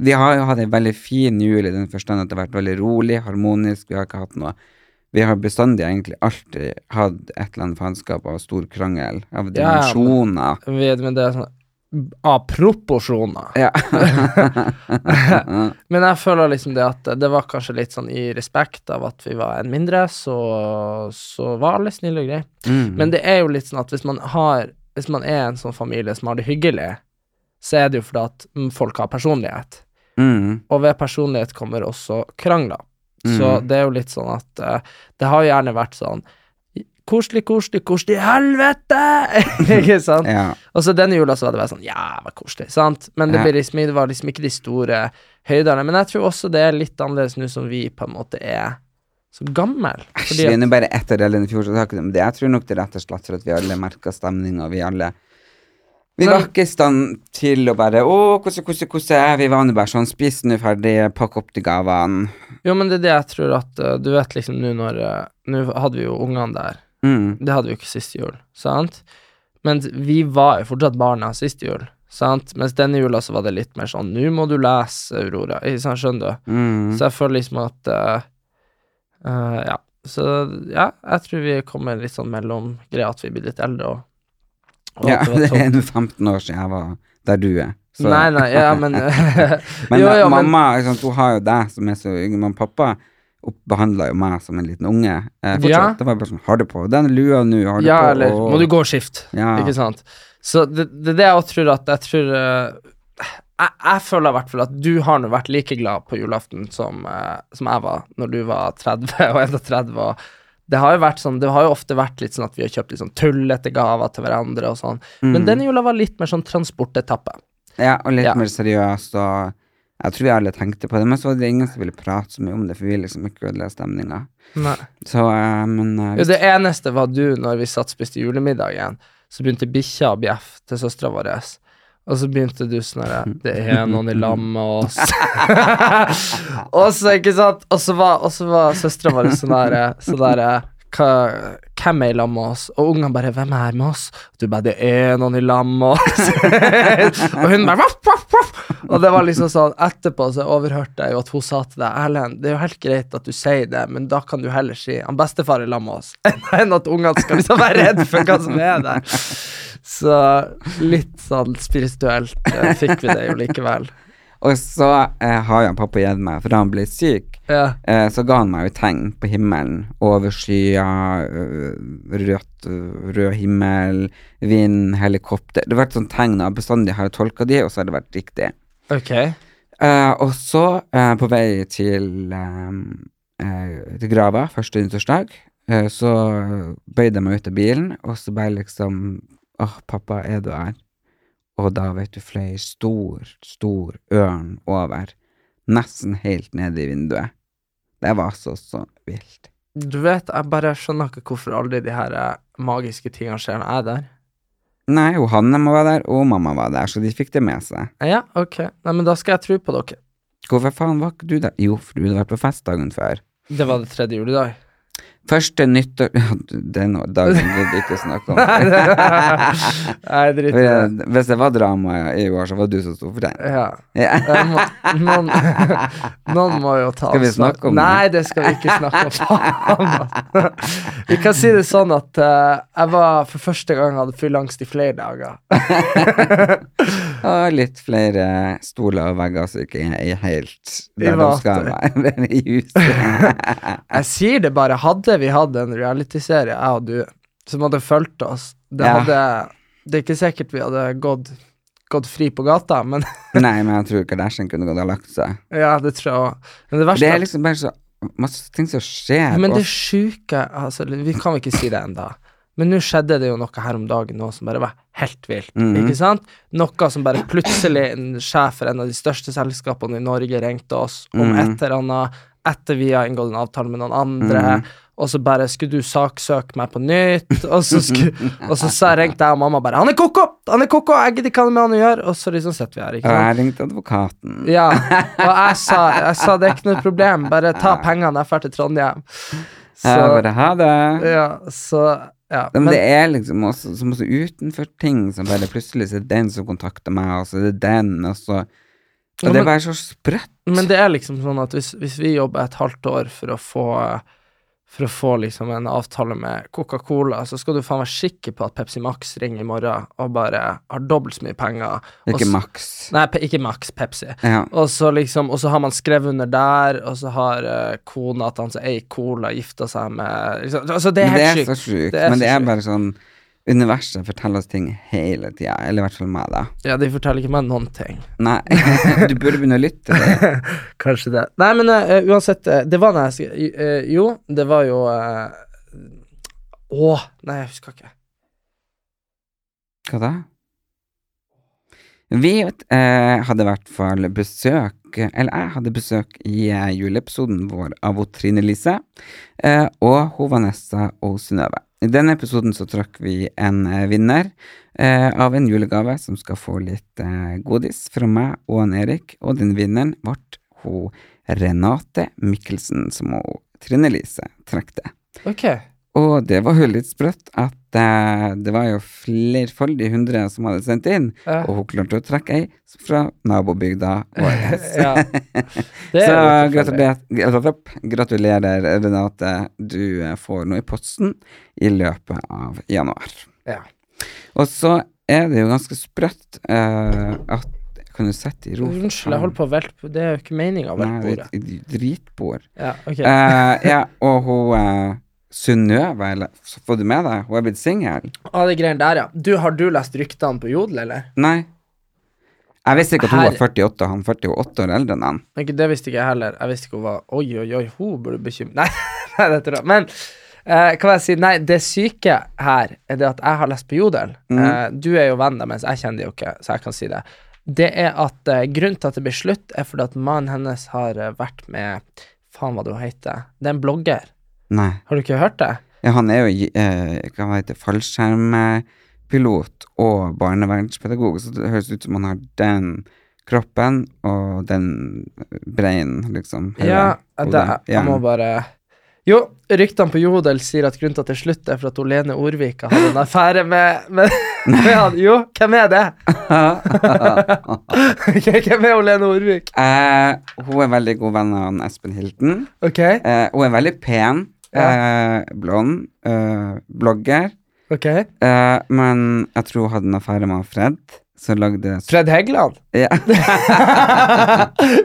Speaker 1: Vi har jo hatt en veldig fin jul i den forstand at det har vært veldig rolig, harmonisk, vi har ikke hatt noe Vi har bestandig egentlig alltid hatt et eller annet faenskap av stor krangel, av
Speaker 3: Ja, ja,
Speaker 1: dimensjoner.
Speaker 3: Vi- Men det er sånn Av proporsjoner.
Speaker 1: Ja.
Speaker 3: Men jeg føler liksom det at det var kanskje litt sånn i respekt av at vi var en mindre, så, så var alle snille og greie.
Speaker 1: mm.
Speaker 3: Men det er jo litt sånn at hvis man har Hvis man er en sånn familie som har det hyggelig, så er det jo fordi at mm, folk har personlighet.
Speaker 1: mm.
Speaker 3: Og ved personlighet kommer også krangler. Så
Speaker 1: Mm.
Speaker 3: det er jo litt sånn at eh, Det har jo gjerne vært sånn Koselig, koselig, koselig, helvete! ikke sant?
Speaker 1: Ja.
Speaker 3: Og så denne jula så var det bare sånn Ja, det var koselig, sant? Men det,
Speaker 1: Ja.
Speaker 3: blir liksom, det var liksom ikke de store høydene. Men jeg tror også det er litt annerledes nå som vi på en måte er så gammel.
Speaker 1: Æsj,
Speaker 3: Fordi
Speaker 1: vi er
Speaker 3: at,
Speaker 1: nå bare etter Ellen i fjor, så det har ikke noe med det. Jeg tror nok det er rett og slett for at vi alle merka stemninga, vi alle Vi
Speaker 3: Men-
Speaker 1: var ikke i stand til å bare Å, kosse, kosse, kosse. Vi var nå bare sånn Spis nå ferdig, pakk opp de gavene.
Speaker 3: jo, men det er det jeg tror at eh, Du vet liksom nå når eh, Nå hadde vi jo ungene der.
Speaker 1: Mm.
Speaker 3: Det hadde vi jo ikke sist jul, sant? Men vi var jo fortsatt barna sist jul, sant? Mens denne jula så var det litt mer sånn Nå må du lese, Aurora. Ikke sant, skjønner du?
Speaker 1: Mm.
Speaker 3: Så jeg føler liksom at eh, eh, Ja. Så ja, jeg tror vi kommer litt sånn mellom greia at vi blir litt eldre og, og
Speaker 1: ja,
Speaker 3: at
Speaker 1: det
Speaker 3: sånn-
Speaker 1: er nå 15 år siden jeg var der du er. Så-
Speaker 3: Nei, nei, ja, men
Speaker 1: Men
Speaker 3: Jo, jo, men-
Speaker 1: mamma ikke sant, hun har jo deg som er så yngre, men pappa behandla jo meg som en liten unge. Eh, fortsatt.
Speaker 3: Ja.
Speaker 1: Det var bare sånn Har du på den lua nå? Har du
Speaker 3: Ja,
Speaker 1: på
Speaker 3: eller
Speaker 1: og-
Speaker 3: må du gå og skifte,
Speaker 1: ja.
Speaker 3: ikke sant? Så det det er det jeg også tror at Jeg tror eh, jeg, jeg føler i hvert fall at du har nå vært like glad på julaften som, eh, som jeg var når du var 30 og 31. Og det har jo vært sånn Det har jo ofte vært litt sånn at vi har kjøpt litt sånn tullete gaver til hverandre og sånn.
Speaker 1: Mm.
Speaker 3: Men denne jula var litt mer sånn transportetappe.
Speaker 1: Ja, og litt
Speaker 3: Ja.
Speaker 1: mer seriøst, og jeg tror vi alle tenkte på det, men så var det ingen som ville prate så mye om det, for vi liksom ikke ødela stemninga. Så, eh, men eh,
Speaker 3: Jo, det eneste var du, når vi satt og spiste julemiddag igjen, så begynte bikkja å bjeffe til søstera vår. Og så begynte du sånn herre Det er noen i lag med oss. og så, ikke sant? Og så var, og så var søstera vår sånn herre sånn herre, hva- Hvem er i lag med oss? Og ungene bare 'Hvem er her med oss?' Og du bare 'Det er noen i lag med oss'. og hun bare voff, voff, voff. Og det var liksom sånn Etterpå så overhørte jeg jo at hun sa til deg 'Erlend, det er jo helt greit at du sier det, men da kan du heller si 'Han bestefar er i lag med oss' enn at ungene skal liksom være redd for hva som er der. Så litt sånn spirituelt eh, fikk vi det jo likevel.
Speaker 1: Og så eh, har jo han pappa gitt meg, for da han ble syk,
Speaker 3: Ja.
Speaker 1: eh, så ga han meg jo tegn på himmelen. Over skyer, øh, rødt, øh, rød himmel, vind, helikopter. Det har vært sånne tegn, og bestandig har jeg tolka de, og så har det vært riktig.
Speaker 3: Ok.
Speaker 1: Eh, og så, eh, på vei til, eh, eh, til grava første nyttårsdag, eh, så bøyde jeg meg ut av bilen, og så bare liksom Åh, pappa, er du her? Og da, vet du, fløy en stor, stor ørn over, nesten helt nede i vinduet. Det var så, så vilt.
Speaker 3: Du vet, jeg bare skjønner ikke hvorfor aldri de her eh, magiske tingene skjer når jeg er der.
Speaker 1: Nei, og Hanne må være der, og mamma var der, så de fikk det med seg.
Speaker 3: Eh, Ja, ok. Nei, men da skal jeg tro på dere.
Speaker 1: Hvorfor faen var ikke du der? Jo, for du hadde vært på fest dagen før.
Speaker 3: Det var det tredje juledag.
Speaker 1: Første nyttår... Ja, det er noe dagen vi ikke snakker om.
Speaker 3: Nei, drit i det.
Speaker 1: Eh, Hvis det var drama i år, så var du som sto for den.
Speaker 3: Ja.
Speaker 1: Ja.
Speaker 3: Jeg Må, noen, noen må jo ta
Speaker 1: Skal vi
Speaker 3: ansvar.
Speaker 1: snakke om det?
Speaker 3: Nei, det skal vi ikke snakke om. Faen, ass. Vi kan si det sånn at eh, jeg var for første gang hadde fylleangst i flere dager.
Speaker 1: Og litt flere stoler og vegger som ikke er helt
Speaker 3: I
Speaker 1: der de
Speaker 3: vater.
Speaker 1: skal være i huset.
Speaker 3: Jeg sier det bare. Hadde vi hatt en realityserie, jeg og du, som hadde fulgt oss det,
Speaker 1: Ja.
Speaker 3: hadde, det er ikke sikkert vi hadde gått, gått fri på gata, men
Speaker 1: Nei, men jeg tror Kardashian kunne gått og lagt seg.
Speaker 3: ja, det tror jeg òg. Men det verste
Speaker 1: Det er liksom bare så masse ting som skjer.
Speaker 3: Men
Speaker 1: og-
Speaker 3: det sjuke altså, Vi kan vel ikke si det enda Men nå skjedde det jo noe her om dagen nå som bare var helt vilt.
Speaker 1: Mhm.
Speaker 3: Ikke sant? Noe som bare plutselig en sjef for en av de største selskapene i Norge ringte oss om
Speaker 1: Mhm.
Speaker 3: et eller annet etter vi har inngått en avtale med noen andre.
Speaker 1: Mhm.
Speaker 3: Og så bare skulle du saksøke meg på nytt, og så, sku, og så sa- ringte jeg og mamma bare 'Han er koko! Han er koko! Jeg gidder ikke hva med han å gjøre!' Og så liksom sitter vi her. ikke
Speaker 1: og
Speaker 3: sant?
Speaker 1: jeg ringte advokaten.
Speaker 3: Ja, og jeg sa, jeg sa det er ikke noe problem, bare ta pengene, jeg drar til Trondheim. Så,
Speaker 1: jeg bare ha det.
Speaker 3: ja, så, ja.
Speaker 1: Men,
Speaker 3: Men,
Speaker 1: det er liksom også, som også utenfor ting som bare plutselig så er det den som kontakter meg, og så er det den, og så Og
Speaker 3: Ja,
Speaker 1: det
Speaker 3: men-
Speaker 1: er bare så sprøtt.
Speaker 3: men det er liksom sånn at hvis, hvis vi jobber et halvt år for å få for å få liksom en avtale med Coca-Cola, så skal du faen være sikker på at Pepsi Max ringer i morgen og bare har dobbelt så mye penger.
Speaker 1: Det er
Speaker 3: Og s-
Speaker 1: ikke maks.
Speaker 3: Nei, pe- ikke Max, Pepsi.
Speaker 1: Ja.
Speaker 3: Og så liksom, og så har man skrevet under der, og så har eh, kona til han som eier Cola, gifta seg med liksom. Altså, det er
Speaker 1: Men det
Speaker 3: helt
Speaker 1: er
Speaker 3: sjukt.
Speaker 1: så sjukt.
Speaker 3: Det er
Speaker 1: Men
Speaker 3: så
Speaker 1: det er
Speaker 3: sjukt.
Speaker 1: bare sånn Universet forteller oss ting hele tida, eller i hvert fall meg, da.
Speaker 3: Ja, de forteller ikke meg noen ting.
Speaker 1: Nei, du burde begynne å lytte.
Speaker 3: Kanskje det. Nei, men eh, uansett, eh, det var når jeg sk- eh, Jo, det var jo eh, Å, nei, jeg husker ikke.
Speaker 1: Hva da? Vi eh, hadde i hvert fall besøk Eller jeg hadde besøk i eh, juleepisoden vår av hun Trine Lise eh, og hun Vanessa og Synnøve. I denne episoden så trakk vi en eh, vinner eh, av en julegave som skal få litt eh, godis fra meg og han Erik. Og den vinneren ble hun Renate Mikkelsen, som hun Trine Lise trakk det.
Speaker 3: Ok.
Speaker 1: Og det var jo litt sprøtt at eh, det var jo flerfoldige hundre som hadde sendt inn,
Speaker 3: eh,
Speaker 1: og hun klarte å trekke ei fra nabobygda vår.
Speaker 3: ja. Det
Speaker 1: Så
Speaker 3: er jo tilfeldig.
Speaker 1: gratulerer, gratulerer- gratulerer, Renate. Du eh, får noe i posten i løpet av januar.
Speaker 3: Ja.
Speaker 1: Og så er det jo ganske sprøtt eh, at Kan du sette i ro? for
Speaker 3: Unnskyld, jeg holder på å velte Det er jo ikke meninga å velte
Speaker 1: Nei,
Speaker 3: bordet.
Speaker 1: det er et dritbord.
Speaker 3: Ja, ok.
Speaker 1: Eh, ja, og hun eh, Synnøve, eller så får du med deg, hun er blitt singel.
Speaker 3: Ah, det greiene der, ja. Du, har du lest ryktene på Jodel, eller?
Speaker 1: Nei. Jeg visste ikke at hun
Speaker 3: Her-
Speaker 1: var 48, og han 48 år eldre enn han.
Speaker 3: Men Ikke, det visste ikke jeg heller. Jeg visste ikke hun var Oi, oi, oi, hun burde bekymre Nei, nei, det tror jeg. Men eh, hva jeg si? Nei, det syke her er det at jeg har lest på Jodel. Eh, du er jo venn der, mens jeg kjenner det jo ikke, så jeg kan si det. Det er at eh, grunnen til at det blir slutt, er fordi at mannen hennes har eh, vært med Faen, hva det hun heter. Det er en blogger.
Speaker 1: Nei.
Speaker 3: Har du ikke hørt det?
Speaker 1: Ja, han er jo eh, hva heter det, fallskjermpilot og barnevernspedagog, så det høres ut som han har den kroppen og den breinen, liksom. hele
Speaker 3: Ja, eh,
Speaker 1: hodet.
Speaker 3: det,
Speaker 1: Ja.
Speaker 3: jeg må bare Jo, ryktene på Jodel sier at grunnen til at det slutter, er for at hun Lene Orvika hadde en affære med, med, med han. Jo, hvem er det? hvem er hun Lene Orvik?
Speaker 1: Eh, hun er veldig god venn av han Espen Hilton.
Speaker 3: Ok,
Speaker 1: Eh, hun er veldig pen, eh, blond, eh, blogger,
Speaker 3: ok.
Speaker 1: eh, men jeg tror hun hadde en affære med han Fred, som lagde
Speaker 3: Fred Heggeland.
Speaker 1: Ja.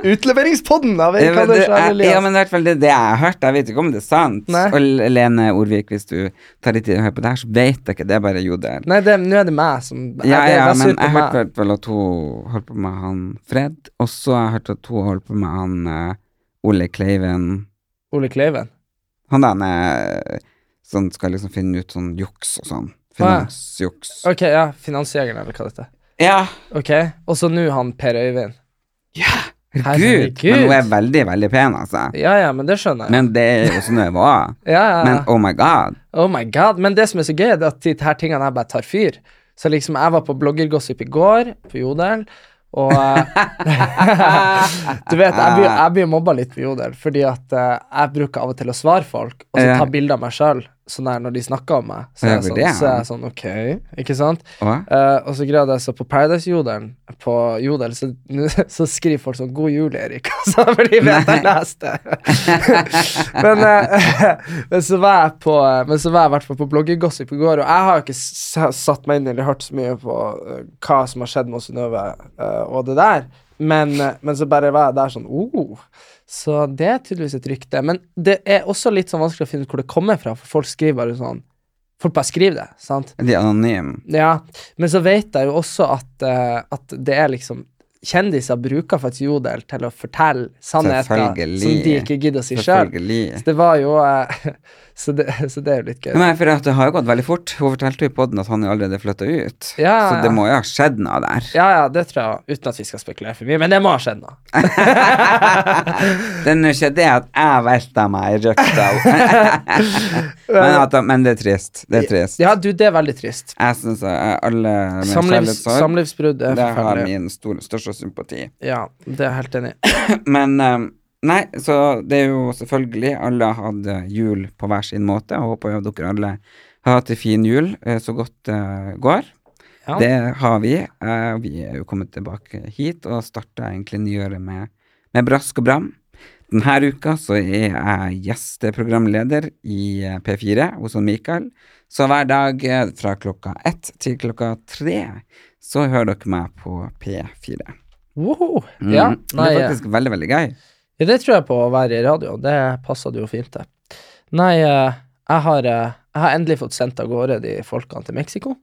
Speaker 3: Utleveringspodden av
Speaker 1: Ja, men,
Speaker 3: Erik
Speaker 1: det,
Speaker 3: Anders og
Speaker 1: jeg, ja,
Speaker 3: Elias.
Speaker 1: men i hvert fall det, er det jeg har hørt. Jeg vet ikke om det er sant.
Speaker 3: Nei.
Speaker 1: Og L- Lene Orvik, hvis du tar litt tid og hører på det her, så vet jeg ikke. Det er bare jodel.
Speaker 3: Nei, det, nå er det meg som
Speaker 1: Ja,
Speaker 3: det er
Speaker 1: ja,
Speaker 3: best
Speaker 1: men
Speaker 3: ut på
Speaker 1: jeg
Speaker 3: meg.
Speaker 1: hørte i hvert fall at hun holdt på med han Fred, og så har jeg hørt at hun holdt på med han eh, Ole Kleiven.
Speaker 3: Ole Kleiven.
Speaker 1: Han der med som skal liksom finne ut sånn juks og sånn.
Speaker 3: Ah, ja.
Speaker 1: Finansjuks.
Speaker 3: Ok, ja. Finansjegeren, eller hva det heter.
Speaker 1: Ja,
Speaker 3: Ok, og så nå han Per Øyvind.
Speaker 1: herregud.
Speaker 3: Herregud.
Speaker 1: Men hun er veldig, veldig pen, altså.
Speaker 3: Ja, ja, men det skjønner jeg.
Speaker 1: Men det er jo sånn det var.
Speaker 3: ja, ja, ja.
Speaker 1: Men oh my god.
Speaker 3: Oh my god, Men det som er så gøy, det er at de her tingene her bare tar fyr. Så liksom, jeg var på bloggergossip i går, på Jodel, og eh, Du vet, jeg blir, jeg blir mobba litt på Jodel, fordi at eh, jeg bruker av og til å svare folk, og så
Speaker 1: Ja.
Speaker 3: ta bilder av meg sjøl, sånn der når de snakker om meg. Så
Speaker 1: Ja,
Speaker 3: er jeg
Speaker 1: for
Speaker 3: sånn,
Speaker 1: det er
Speaker 3: så er jeg sånn ok, ikke sant?
Speaker 1: Hva?
Speaker 3: Eh, og så greide jeg så på Paradise-jodelen På Jodel så, så skriver folk sånn 'God jul, Erik', altså, for de vet jeg leste men, eh, men så var jeg på eh, Men så var jeg i hvert fall på bloggegossip i går, og jeg har jo ikke s- satt meg inn i eller hørt så mye på eh, hva som har skjedd med Synnøve eh, og det der, men, eh, men så bare var jeg der sånn oh. Så det er tydeligvis et rykte. Men det er også litt sånn vanskelig å finne ut hvor det kommer fra, for folk skriver bare sånn Folk bare skriver det, sant?
Speaker 1: De er anonyme.
Speaker 3: Ja, men så vet jeg jo også at, eh, at det er liksom Kjendiser bruker faktisk jodel til å fortelle sannheter
Speaker 1: Selvfølgelig.
Speaker 3: som de ikke gidder å si sjøl. Så
Speaker 1: Selvfølgelig.
Speaker 3: det var jo eh, så, det, så det er jo litt gøy.
Speaker 1: Nei, for at det har jo gått veldig fort. Hun fortalte jo i podden at han jo allerede flytta ut.
Speaker 3: Ja,
Speaker 1: Så det
Speaker 3: ja.
Speaker 1: må jo ha skjedd noe der.
Speaker 3: Ja, ja, det tror jeg, uten at vi skal spekulere for mye, men det må ha skjedd nå.
Speaker 1: Det er nå ikke det at jeg velta meg i røkta. men, at, han- men det er trist. Det er trist.
Speaker 3: Ja, du, det er veldig trist.
Speaker 1: Jeg syns alle med
Speaker 3: Samlivs,
Speaker 1: kjærlighetssorg
Speaker 3: samlivsbrudd er
Speaker 1: Det har
Speaker 3: forferdelig.
Speaker 1: min stor, største sympati.
Speaker 3: Ja, det er jeg helt enig i.
Speaker 1: Men eh, nei, så det er jo selvfølgelig Alle hadde jul på hver sin måte, og håper jo at dere alle har hatt en fin jul eh, så godt det går.
Speaker 3: Ja.
Speaker 1: Det har vi. eh, vi er jo kommet tilbake hit og starta egentlig nyåret med, med brask og bram. Denne uka så er jeg gjesteprogramleder i eh, P4 hos han Mikael. Så hver dag eh, fra klokka ett til klokka tre så hører dere meg på P4.
Speaker 3: Woho!
Speaker 1: Mm.
Speaker 3: Ja, nei, eh,
Speaker 1: det er faktisk veldig, veldig gøy.
Speaker 3: ja, det tror jeg på å være i radio. Det passer det jo fint, det. Nei, eh, jeg har, eh, jeg har endelig fått sendt av gårde de folkene til Mexico.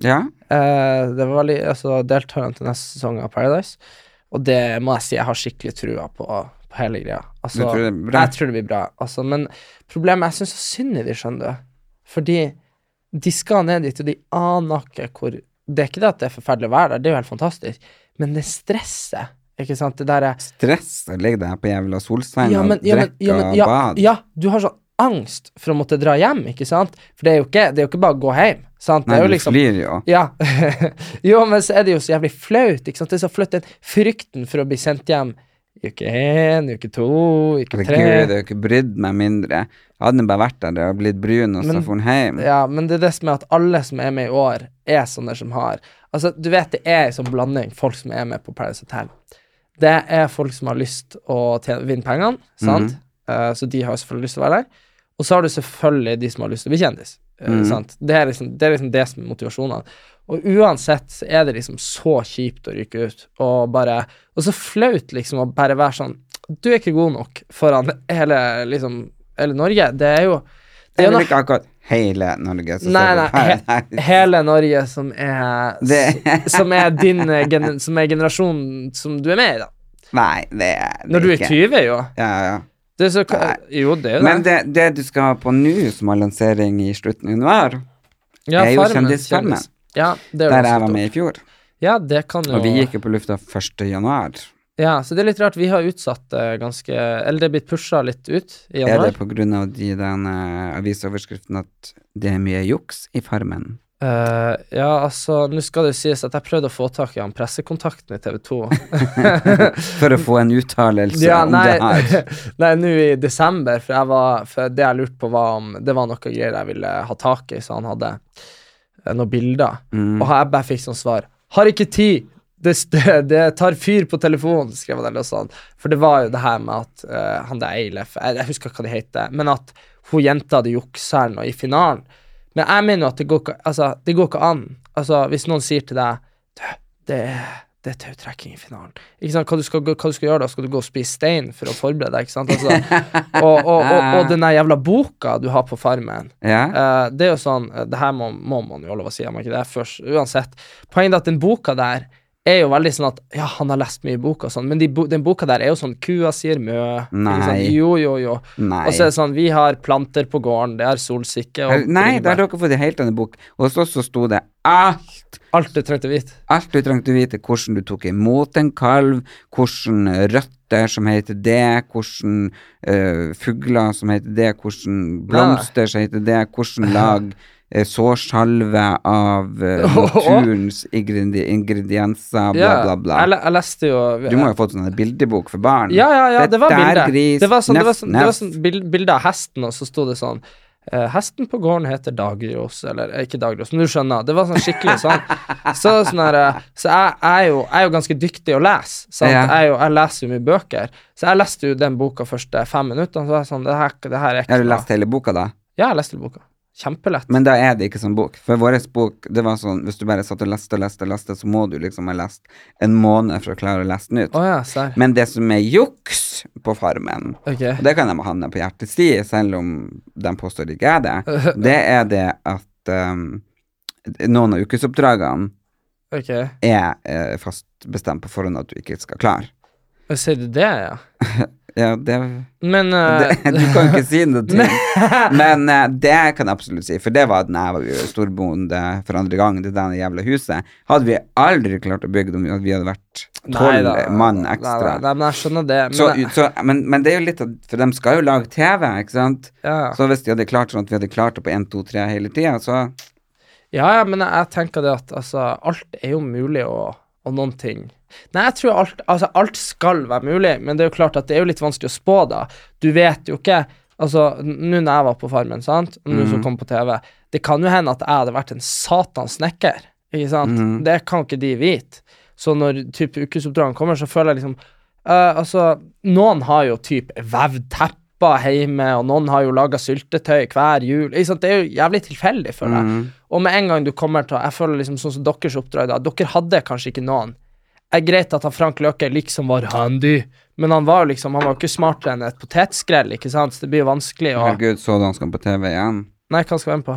Speaker 1: Ja.
Speaker 3: Eh, det var veldig, altså deltakerne til neste sesong av Paradise. Og det må jeg si, jeg har skikkelig trua på, på hele greia. Altså,
Speaker 1: Du tror det blir bra?
Speaker 3: Jeg tror det blir bra. Altså, men problemet Jeg syns så synd i de, skjønner du. Fordi de skal ned dit, og de aner ikke hvor Det er ikke det at det er forferdelig å være der, det er jo helt fantastisk, men det stresset, ikke sant, det der er
Speaker 1: Stress å ligge deg på jævla solstein
Speaker 3: ja, men,
Speaker 1: og
Speaker 3: ja, men,
Speaker 1: drikke
Speaker 3: ja, men,
Speaker 1: og
Speaker 3: ja,
Speaker 1: bad.
Speaker 3: ja, du har sånn angst for å måtte dra hjem, ikke sant? For det er jo ikke, det er jo ikke bare å gå hjem. Sant?
Speaker 1: Nei,
Speaker 3: det er jo
Speaker 1: du
Speaker 3: liksom,
Speaker 1: flyr jo.
Speaker 3: ja. jo, men så er det jo så jævlig flaut. Ikke sant? Det er så flaut, den frykten for å bli sendt hjem i uke én, i uke to, i uke
Speaker 1: Herregud,
Speaker 3: tre.
Speaker 1: jeg har jo ikke brydd meg mindre. Jeg hadde bare vært der og blitt brun, og så
Speaker 3: Men-
Speaker 1: får han hjem.
Speaker 3: Ja, men det er det som er at alle som er med i år, er sånne som har Altså, du vet det er en sånn blanding, folk som er med på Paradise Hotel. Det er folk som har lyst å tjene, vinne pengene, sant? Eh, så de har jo selvfølgelig lyst til å være der. Og så har du selvfølgelig de som har lyst til å bli kjendis. eh,
Speaker 1: Mhm.
Speaker 3: sant? Det, er liksom, det er liksom det som er motivasjonene. Og uansett så er det liksom så kjipt å ryke ut, og bare Og så flaut liksom å bare være sånn Du er ikke god nok foran hele liksom hele Norge. Det er jo
Speaker 1: Det
Speaker 3: det er
Speaker 1: er
Speaker 3: jo
Speaker 1: vel ikke akkurat hele Norge som
Speaker 3: Nei,
Speaker 1: ser
Speaker 3: nei,
Speaker 1: på
Speaker 3: he-
Speaker 1: Paradise.
Speaker 3: hele Norge som er
Speaker 1: Det-
Speaker 3: Som er din eh, gener, Som er generasjonen som du er med i, da.
Speaker 1: Nei, det er det
Speaker 3: Når du er
Speaker 1: ikke.
Speaker 3: 20, jo.
Speaker 1: Ja, ja.
Speaker 3: Det er så,
Speaker 1: Nei.
Speaker 3: jo, det er jo
Speaker 1: Men det, det du skal ha på nå, som har lansering i slutten av januar,
Speaker 3: Ja,
Speaker 1: er jo
Speaker 3: Farmen,
Speaker 1: Kjendisfarmen.
Speaker 3: Kjendis. Ja, det er
Speaker 1: der
Speaker 3: jo også
Speaker 1: jeg var
Speaker 3: stort.
Speaker 1: med i fjor,
Speaker 3: Ja, det kan jo
Speaker 1: og vi gikk jo på lufta 1. januar,
Speaker 3: Ja, så det er litt rart. Vi har utsatt eh, ganske Eller det er blitt pusha litt ut i
Speaker 1: er det
Speaker 3: januar.
Speaker 1: på grunn av de, den eh, avisoverskriften at det er mye juks i Farmen?
Speaker 3: Eh, ja, altså, nå skal det jo sies at jeg prøvde å få tak i han pressekontakten i TV 2.
Speaker 1: For å få en uttalelse
Speaker 3: Ja,
Speaker 1: om
Speaker 3: nei,
Speaker 1: det her.
Speaker 3: nei, nå i desember, for, jeg var, for det jeg lurte på var om det var noe greier jeg ville ha tak i, så han hadde eh, noen bilder.
Speaker 1: Mm.
Speaker 3: Og jeg bare fikk sånn svar Har ikke tid! Det, st- det tar fyr på telefonen, skrev han eller noe sånt. For det var jo det her med at eh, han der Eilef jeg, jeg husker ikke hva det heter, men at hun jenta hadde juksa eller noe i finalen. Men jeg mener jo at det går ikke, altså, det går ikke an. Altså, hvis noen sier til deg Du, det er det er tautrekking i finalen. Ikke sant? Hva, du skal, gå- hva du skal gjøre da? Skal du gå og spise stein for å forberede deg? Ikke sant? Altså, og, og, og, og den der jævla boka du har på farmen.
Speaker 1: Ja.
Speaker 3: Eh, det er jo sånn eh, Det her må, må man jo ha lov å si, har man ikke det? Først, uansett. Poenget er at den boka der er jo veldig sånn at Ja, han har lest mye i boka og sånn, men de, bo- den boka der er jo sånn Kua sier mø. ikke
Speaker 1: Nei.
Speaker 3: sant? Jo, jo, jo.
Speaker 1: Nei.
Speaker 3: Og så er det sånn Vi har planter på gården, det er solsikke
Speaker 1: Eller-
Speaker 3: og
Speaker 1: Nei, da
Speaker 3: bringebær.
Speaker 1: har dere fått en helt annen bok. Og så, så sto det alt.
Speaker 3: Alt du trengte å vite.
Speaker 1: Alt du trengte å vite. Hvordan du tok imot en kalv, hvordan røtter som heter det, hvordan eh, fugler som heter det, hvordan blomster som heter det, hvordan lag eh, sårsalve av eh, naturens ingredi ingredienser, bla,
Speaker 3: Ja,
Speaker 1: bla, bla.
Speaker 3: Jeg, le- jeg leste jo
Speaker 1: Du må jo ha fått sånn bildebok for barn.
Speaker 3: Ja, ja, ja, det var
Speaker 1: Dette er
Speaker 3: bilder.
Speaker 1: gris,
Speaker 3: det var sånn, det var
Speaker 1: neff,
Speaker 3: sånn, det var
Speaker 1: neff.
Speaker 3: sånn bild, bilde av hesten, og så sto det sånn eh, Hesten på gården heter Dagros, eller eh, ikke Dagros, men du skjønner. Det var sånn skikkelig sånn. Så, sånn her, eh, så jeg, jeg, er jo, jeg er jo ganske dyktig å lese. Sant?
Speaker 1: Ja.
Speaker 3: Jeg, er jo, jeg leser jo mye bøker. Så jeg leste jo den boka første fem minuttene. Så var jeg sånn Det her, det her er ikke
Speaker 1: Har du
Speaker 3: noe.
Speaker 1: lest hele boka, da?
Speaker 3: Ja, jeg leste boka. Kjempelett.
Speaker 1: Men da er det ikke sånn bok. For vår bok, det var sånn hvis du bare satt og leste og leste, og leste, så må du liksom ha lest en måned for å klare å lese den ut.
Speaker 3: Å ja, serr.
Speaker 1: Men det som er juks på Farmen,
Speaker 3: Ok.
Speaker 1: og det kan de ha handa på hjertets sti, selv om de påstår det ikke er det, det er det at um, noen av ukesoppdragene
Speaker 3: Ok.
Speaker 1: er eh, fast bestemt på forhånd at du ikke skal klare.
Speaker 3: Sier du det, ja?
Speaker 1: Ja, det,
Speaker 3: Men
Speaker 1: det,
Speaker 3: eh,
Speaker 1: du kan ikke si noe til. Men eh, det kan jeg absolutt si, for det var da jeg var storbonde for andre gang. Det der jævla huset hadde vi aldri klart å bygge om vi hadde vært
Speaker 3: Nei da.
Speaker 1: tolv mann
Speaker 3: Nei,
Speaker 1: ekstra.
Speaker 3: Nei, nei, men jeg skjønner det. Men,
Speaker 1: Så, så, men, men det er jo litt at For de skal jo lage TV, ikke sant?
Speaker 3: ja.
Speaker 1: Så hvis de hadde klart sånn at vi hadde klart det på 1, 2, 3 hele tida, så
Speaker 3: Ja, ja, men jeg, jeg tenker det at altså, alt er jo mulig, og, og noen ting Nei, jeg tror alt, altså, alt skal være mulig, men det er jo klart at det er jo litt vanskelig å spå, da. Du vet jo ikke Altså, n- nå når jeg var på Farmen, sant, og nå som kom på TV, det kan jo hende at jeg hadde vært en satans snekker, ikke sant? Det kan ikke de vite. Så når typ ukesoppdragene kommer, så føler jeg liksom eh, Altså, noen har jo typ vevd tepper hjemme, og noen har jo laga syltetøy hver jul, ikke sant? Det er jo jævlig tilfeldig for deg. Og med en gang du kommer til Jeg føler liksom sånn som deres oppdrag da Dere hadde kanskje ikke noen Det er greit at han Frank Løke liksom var handy Men han var jo liksom Han var jo ikke smartere enn et potetskrell Ikke sant? Så det blir jo vanskelig å
Speaker 1: Herregud, så du han skal på TV igjen?
Speaker 3: Nei, hva skal jeg være med på?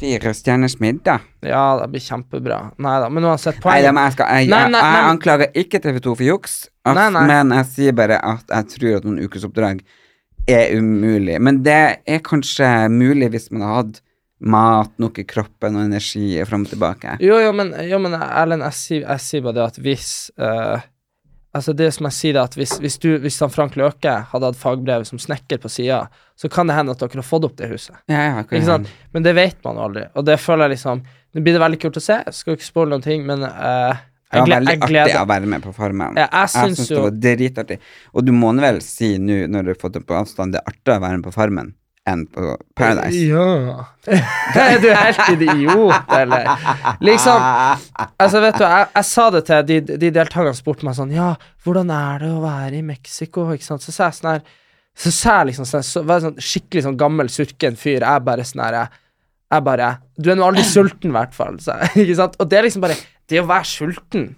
Speaker 1: Fire stjerners middag?
Speaker 3: Ja, det blir kjempebra Neida, men uansett
Speaker 1: Nei,
Speaker 3: poenget
Speaker 1: da, men jeg, skal, jeg,
Speaker 3: Nei,
Speaker 1: jeg,
Speaker 3: nei,
Speaker 1: jeg,
Speaker 3: nei.
Speaker 1: anklager ikke TV2 for juks, ass,
Speaker 3: Nei, nei.
Speaker 1: men jeg sier bare at jeg tror at noen ukesoppdrag er umulig. Men det er kanskje mulig hvis man har hatt mat nok i kroppen og energi fram og tilbake.
Speaker 3: Jo, jo, men, jo, men Erlend, jeg sier, jeg sier bare det at hvis eh, Altså, det som jeg sier, det er at hvis, hvis, du, hvis han Frank Løke hadde hatt fagbrev som snekker på sida, så kan det hende at dere har fått opp det huset.
Speaker 1: Ja, ja, hva
Speaker 3: Ikke
Speaker 1: er
Speaker 3: sant?
Speaker 1: det?
Speaker 3: Men det vet man jo aldri, og det føler jeg liksom Nå blir det veldig kult å se, jeg skal ikke spoile noen ting, men eh,
Speaker 1: Det
Speaker 3: jeg,
Speaker 1: var
Speaker 3: gle
Speaker 1: veldig
Speaker 3: jeg
Speaker 1: artig å
Speaker 3: gleder
Speaker 1: være med på Farmen.
Speaker 3: ja, Jeg
Speaker 1: Jeg
Speaker 3: syns
Speaker 1: syns det
Speaker 3: jo
Speaker 1: var dritartig. Og du må nå vel si nå, når du har fått det på avstand, det er artigere å være med på Farmen enn på Paradise.
Speaker 3: Ja. er du helt idiot, eller? Liksom
Speaker 1: Ah!
Speaker 3: Altså, vet du, jeg, jeg sa det til de, de deltakerne spurte meg sånn Ja, hvordan er det å være i Mexico? Ikke sant? Så sa jeg sånn her Så sa jeg liksom sånn, så var jeg sånn skikkelig sånn gammel, surken fyr. Jeg bare sånn her jeg, jeg bare Du er nå aldri sulten, i hvert fall. sa jeg. Ikke sant? Og det er liksom bare Det å være sulten,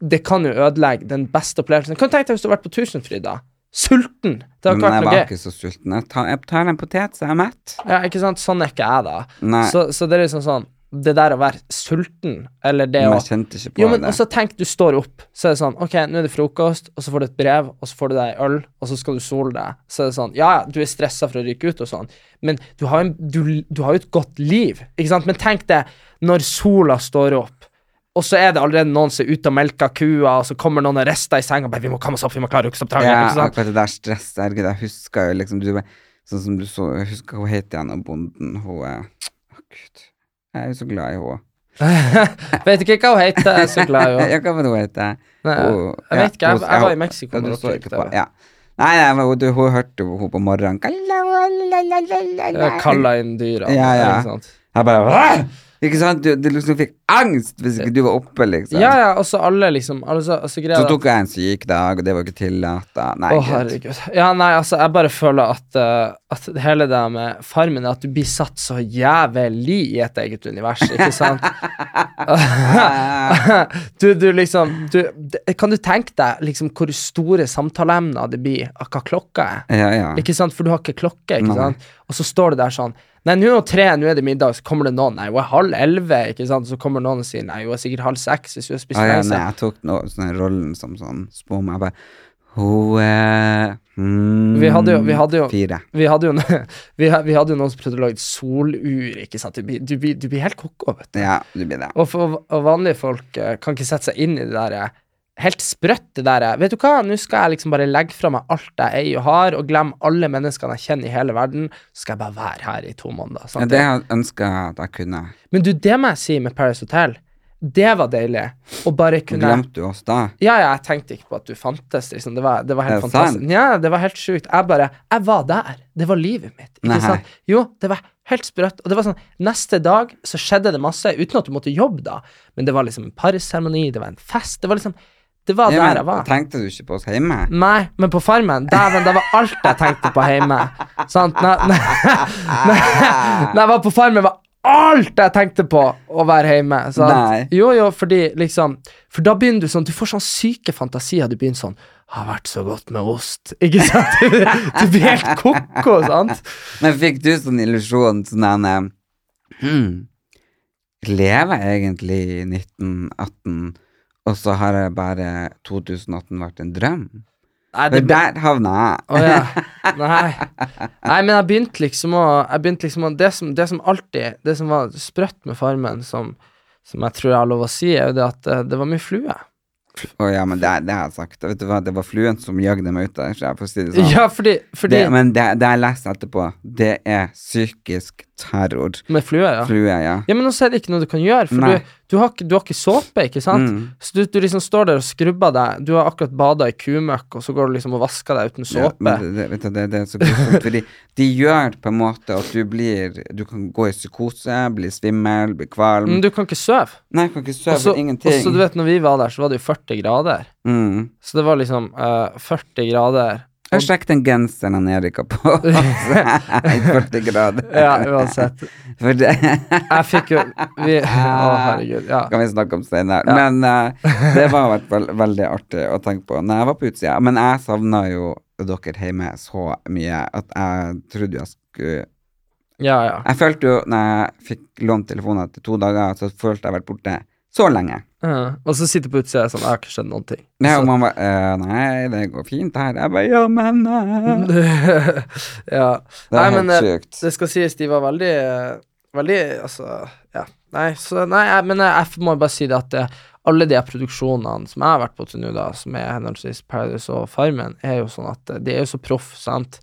Speaker 3: det kan jo ødelegge den beste opplevelsen. Kan du tenke deg hvis du har vært på Tusenfryd, da? Sulten! Det har
Speaker 1: Men
Speaker 3: ikke vært
Speaker 1: jeg
Speaker 3: noe
Speaker 1: var
Speaker 3: gøy.
Speaker 1: ikke så sulten. Jeg tar, jeg tar en potet, så jeg er mett.
Speaker 3: Ja, ikke sant? Sånn er ikke jeg, da.
Speaker 1: Nei.
Speaker 3: Så, så det er liksom sånn Det der å være sulten, eller det
Speaker 1: Men
Speaker 3: å
Speaker 1: jeg kjente ikke på
Speaker 3: Jo, men
Speaker 1: det.
Speaker 3: også tenk, du står opp, så er det sånn Ok, nå er det frokost, og så får du et brev, og så får du deg en øl, og så skal du sole deg. Så er det sånn Ja, ja, du er stressa for å ryke ut og sånn, men du har, en, du, du har jo et godt liv, ikke sant? Men tenk det, når sola står opp, og så er det allerede noen som er ute og melker kua, og så kommer noen og rister i senga og bare 'Vi må komme oss opp, vi må klare økseoppdraget',
Speaker 1: ja,
Speaker 3: ikke sant?
Speaker 1: akkurat det der stresset, herregud, jeg husker jo liksom du, bare- Sånn som du så, jeg husker hun het igjen, og bonden, hun er Å, gud. Jeg er jo så glad i henne.
Speaker 3: Vet ikke hva hun heter, jeg er så glad i henne.
Speaker 1: Ja, hva var det hun heter?
Speaker 3: Nei,
Speaker 1: Hun-
Speaker 3: jeg vet ikke, jeg-
Speaker 1: hun-
Speaker 3: jeg var i
Speaker 1: hun-
Speaker 3: Mexico
Speaker 1: Ja,
Speaker 3: når
Speaker 1: du
Speaker 3: dere
Speaker 1: så
Speaker 3: gikk
Speaker 1: ikke
Speaker 3: der.
Speaker 1: på ja. Nei, nei, men hun, du, hun hørte jo hun på morgenen
Speaker 3: Jeg kalla inn dyra.
Speaker 1: Ja, ja.
Speaker 3: Ikke sant?
Speaker 1: Jeg bare «Åh!» Ikke sant? Du, du liksom fikk angst hvis ikke du var oppe, liksom.
Speaker 3: ja, ja, og så alle, liksom. alle så- altså, greia
Speaker 1: Så
Speaker 3: er at-
Speaker 1: tok jeg en syk dag, og det var ikke tillatt. da. Nei,
Speaker 3: Å,
Speaker 1: gud.
Speaker 3: herregud. Ja, nei, altså, jeg bare føler at, eh, at det hele det med farmen er at du blir satt så jævlig i et eget univers, ikke sant? du, du liksom du, det- Kan du tenke deg liksom hvor store samtaleemner det blir av hva klokka er?
Speaker 1: Ja, ja.
Speaker 3: Ikke sant, For du har ikke klokke, ikke
Speaker 1: Nei.
Speaker 3: sant? Og så står det der sånn Nei, nå er det tre, nå er det middag, så kommer det noen. Nei, hun er halv elleve, ikke sant? Så kommer noen og sier nei, hun er sikkert halv seks hvis hun har spist
Speaker 1: Ah, ja,
Speaker 3: pause.
Speaker 1: nei, jeg tok nå, sånn, den rollen som sånn spåmann. Jeg bare Hun eh, hmm,
Speaker 3: Vi hadde jo, vi hadde jo
Speaker 1: Fire.
Speaker 3: Vi hadde jo, vi, ha- vi hadde jo noen som prøvde å lage et solur, ikke sant. Du blir, du blir, du blir helt koko, vet du.
Speaker 1: Ja, det blir det.
Speaker 3: Og, for, og vanlige folk eh, kan ikke sette seg inn i det der eh, Helt sprøtt, det der eh, Vet du hva, nå skal jeg liksom bare legge fra meg alt jeg eier og har, og glemme alle menneskene jeg kjenner i hele verden, så skal jeg bare være her i to måneder.
Speaker 1: Ja,
Speaker 3: Sant?
Speaker 1: det jeg ønska at jeg kunne.
Speaker 3: Men du, det må jeg si med Paris Hotel. Det var deilig. Å bare kunne
Speaker 1: Glemte du oss da?
Speaker 3: Ja, ja, jeg tenkte ikke på at du fantes. Liksom. Det, var, det var helt
Speaker 1: Er det
Speaker 3: fantastisk.
Speaker 1: sant?
Speaker 3: Ja, det var helt sjukt. Jeg bare Jeg var der. Det var livet mitt. Ikke
Speaker 1: Nei.
Speaker 3: sant? Jo, det var helt sprøtt. Og det var sånn Neste dag så skjedde det masse, uten at du måtte jobbe, da. Men det var liksom en parseremoni, det var en fest. Det var liksom Det var
Speaker 1: Ja,
Speaker 3: der
Speaker 1: men,
Speaker 3: jeg var.
Speaker 1: tenkte du ikke på oss hjemme?
Speaker 3: Nei, men på Farmen, dæven, det var alt jeg tenkte på hjemme. Sant? Når, når, når jeg var på Farmen, var alt jeg tenkte på å være hjemme. Sant?
Speaker 1: Nei.
Speaker 3: Jo, jo, fordi liksom For da begynner du sånn Du får sånn syke fantasier. Du begynner sånn Har vært så godt med ost. Ikke sant? Du, blir- du blir helt ko-ko, sant?
Speaker 1: Men fikk du sånn illusjon sånn en eh, hmm, Lever jeg egentlig i 1918, og så har jeg bare 2018 vært en drøm?
Speaker 3: Nei,
Speaker 1: For der havna jeg.
Speaker 3: Å ja. Nei. Nei, men jeg begynte liksom å, jeg begynte liksom å det, som, det som alltid Det som var sprøtt med Farmen, som, som jeg tror jeg har lov å si, er jo det at eh, det var mye flue.
Speaker 1: Å ja, men det, det har jeg sagt. Vet du hva, det var fluen som jagde meg ut der, så jeg får si det sånn.
Speaker 3: Ja, fordi, fordi
Speaker 1: Det, men det, det jeg leser etterpå, det er psykisk terror.
Speaker 3: Med flue, ja.
Speaker 1: Flue, ja.
Speaker 3: Ja, Men også er det ikke noe du kan gjøre, for
Speaker 1: Nei.
Speaker 3: du, du, har ikke, du har ikke såpe, ikke sant?
Speaker 1: Mm.
Speaker 3: Så du, du liksom står der og skrubber deg, du har akkurat bada i kumøkk, og så går du liksom og vasker deg uten
Speaker 1: Ja,
Speaker 3: såpe.
Speaker 1: men det, det, vet du, det, det er så grusomt, fordi de gjør det på en måte at du blir Du kan gå i psykose, bli svimmel, bli kvalm.
Speaker 3: Men du kan ikke sove.
Speaker 1: Nei, jeg kan ikke
Speaker 3: Mm. Og
Speaker 1: sove,
Speaker 3: så-
Speaker 1: ingenting.
Speaker 3: og så, du vet, når vi var der, så var det jo 40 grader.
Speaker 1: mm.
Speaker 3: Så det var liksom eh, 40 grader
Speaker 1: Jeg har sjekket den genseren han Erik har på i 40 grader.
Speaker 3: Ja, uansett.
Speaker 1: For det
Speaker 3: Jeg fikk jo vi, Å, herregud. Ja.
Speaker 1: kan vi snakke om senere.
Speaker 3: Ja.
Speaker 1: Men eh, det var i hvert fall veldig artig å tenke på når jeg var på utsida. Men jeg savna jo dere hjemme så mye at jeg trodde jo jeg skulle
Speaker 3: ja, ja.
Speaker 1: Jeg følte jo når jeg fikk lånt telefonen etter to dager, så følte jeg har vært borte så lenge.
Speaker 3: Ja. Mm. Og så sitter jeg på utsida og er sånn Jeg har ikke skjønt noen ting.
Speaker 1: Nei, og
Speaker 3: Så-
Speaker 1: man bare eh, Nei, det går fint her. Jeg bare Ja, men eh.
Speaker 3: ja.
Speaker 1: Det var
Speaker 3: Nei, men, eh,
Speaker 1: helt sykt.
Speaker 3: Det skal sies, de var veldig eh, Veldig Altså, ja. Nei, så Nei, jeg, men jeg, jeg må bare si det at eh, alle de her produksjonene som jeg har vært på til nå, da, som er henholdsvis Paradise og Farmen, er jo sånn at eh, de er jo så proff, sant?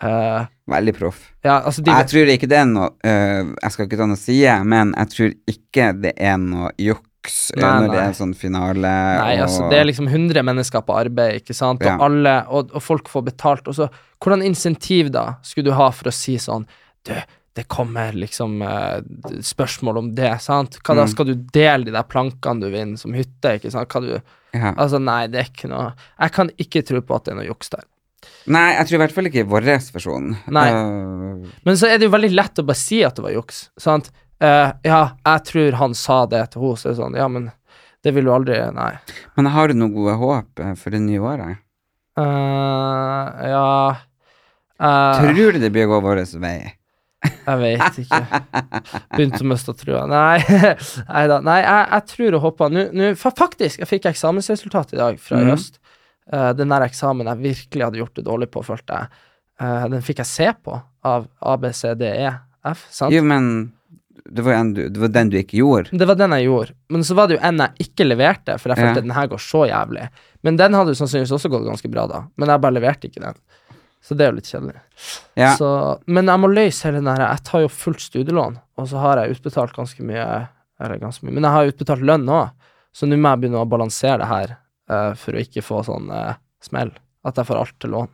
Speaker 3: Eh,
Speaker 1: Veldig proff.
Speaker 3: ja, altså de
Speaker 1: Jeg tror ikke det er noe eh, Jeg skal ikke ta noe side, men jeg tror ikke det er noe juks eh,
Speaker 3: Nei,
Speaker 1: når det
Speaker 3: nei.
Speaker 1: er en sånn finale.
Speaker 3: Nei,
Speaker 1: og,
Speaker 3: altså det er liksom 100 mennesker på arbeid, ikke sant, og
Speaker 1: Ja.
Speaker 3: alle, og, og folk får betalt, og så hvordan insentiv da skulle du ha for å si sånn, du, det kommer liksom eh, spørsmål om det, sant, hva da
Speaker 1: Mm.
Speaker 3: skal du dele de der plankene du vinner som hytte, ikke sant, hva du,
Speaker 1: ja.
Speaker 3: altså nei, det er ikke noe, jeg kan ikke tro på at det er noe juks der.
Speaker 1: Nei, jeg tror i hvert fall ikke i vår versjon.
Speaker 3: Nei.
Speaker 1: Eh,
Speaker 3: Men så er det jo veldig lett å bare si at det var juks. Sant? Eh, ja, jeg tror han sa det til henne. Så er det sånn, ja, men det vil du aldri Nei.
Speaker 1: men har du noe gode håp eh, for det nye året?
Speaker 3: Eh, ja eh,
Speaker 1: Tror du det blir å gå vår vei?
Speaker 3: Jeg vet ikke. Begynte å miste trua. Nei Nei da. Nei, jeg, jeg tror og håper Nå, nå- fa- Faktisk, jeg fikk eksamensresultat i dag fra i
Speaker 1: Mhm.
Speaker 3: høst. Eh, den der eksamen jeg virkelig hadde gjort det dårlig på, følte jeg. Eh, den fikk jeg se på av ABCDEF, E sant?
Speaker 1: Jo, men det var, jo en du, det var den du ikke gjorde.
Speaker 3: Det var den jeg gjorde. Men så var det jo en jeg ikke leverte, for jeg
Speaker 1: Ja.
Speaker 3: følte at den her går så jævlig. Men den hadde jo sannsynligvis også gått ganske bra, da. Men jeg bare leverte ikke den. Så det er jo litt kjedelig.
Speaker 1: Ja.
Speaker 3: Så, men jeg må løse hele den her. Jeg tar jo fullt studielån, og så har jeg utbetalt ganske mye Eller ganske mye, men jeg har jo utbetalt lønn òg, så nå må jeg begynne å balansere det her eh, for å ikke få sånn eh, smell. At jeg får alt til lån.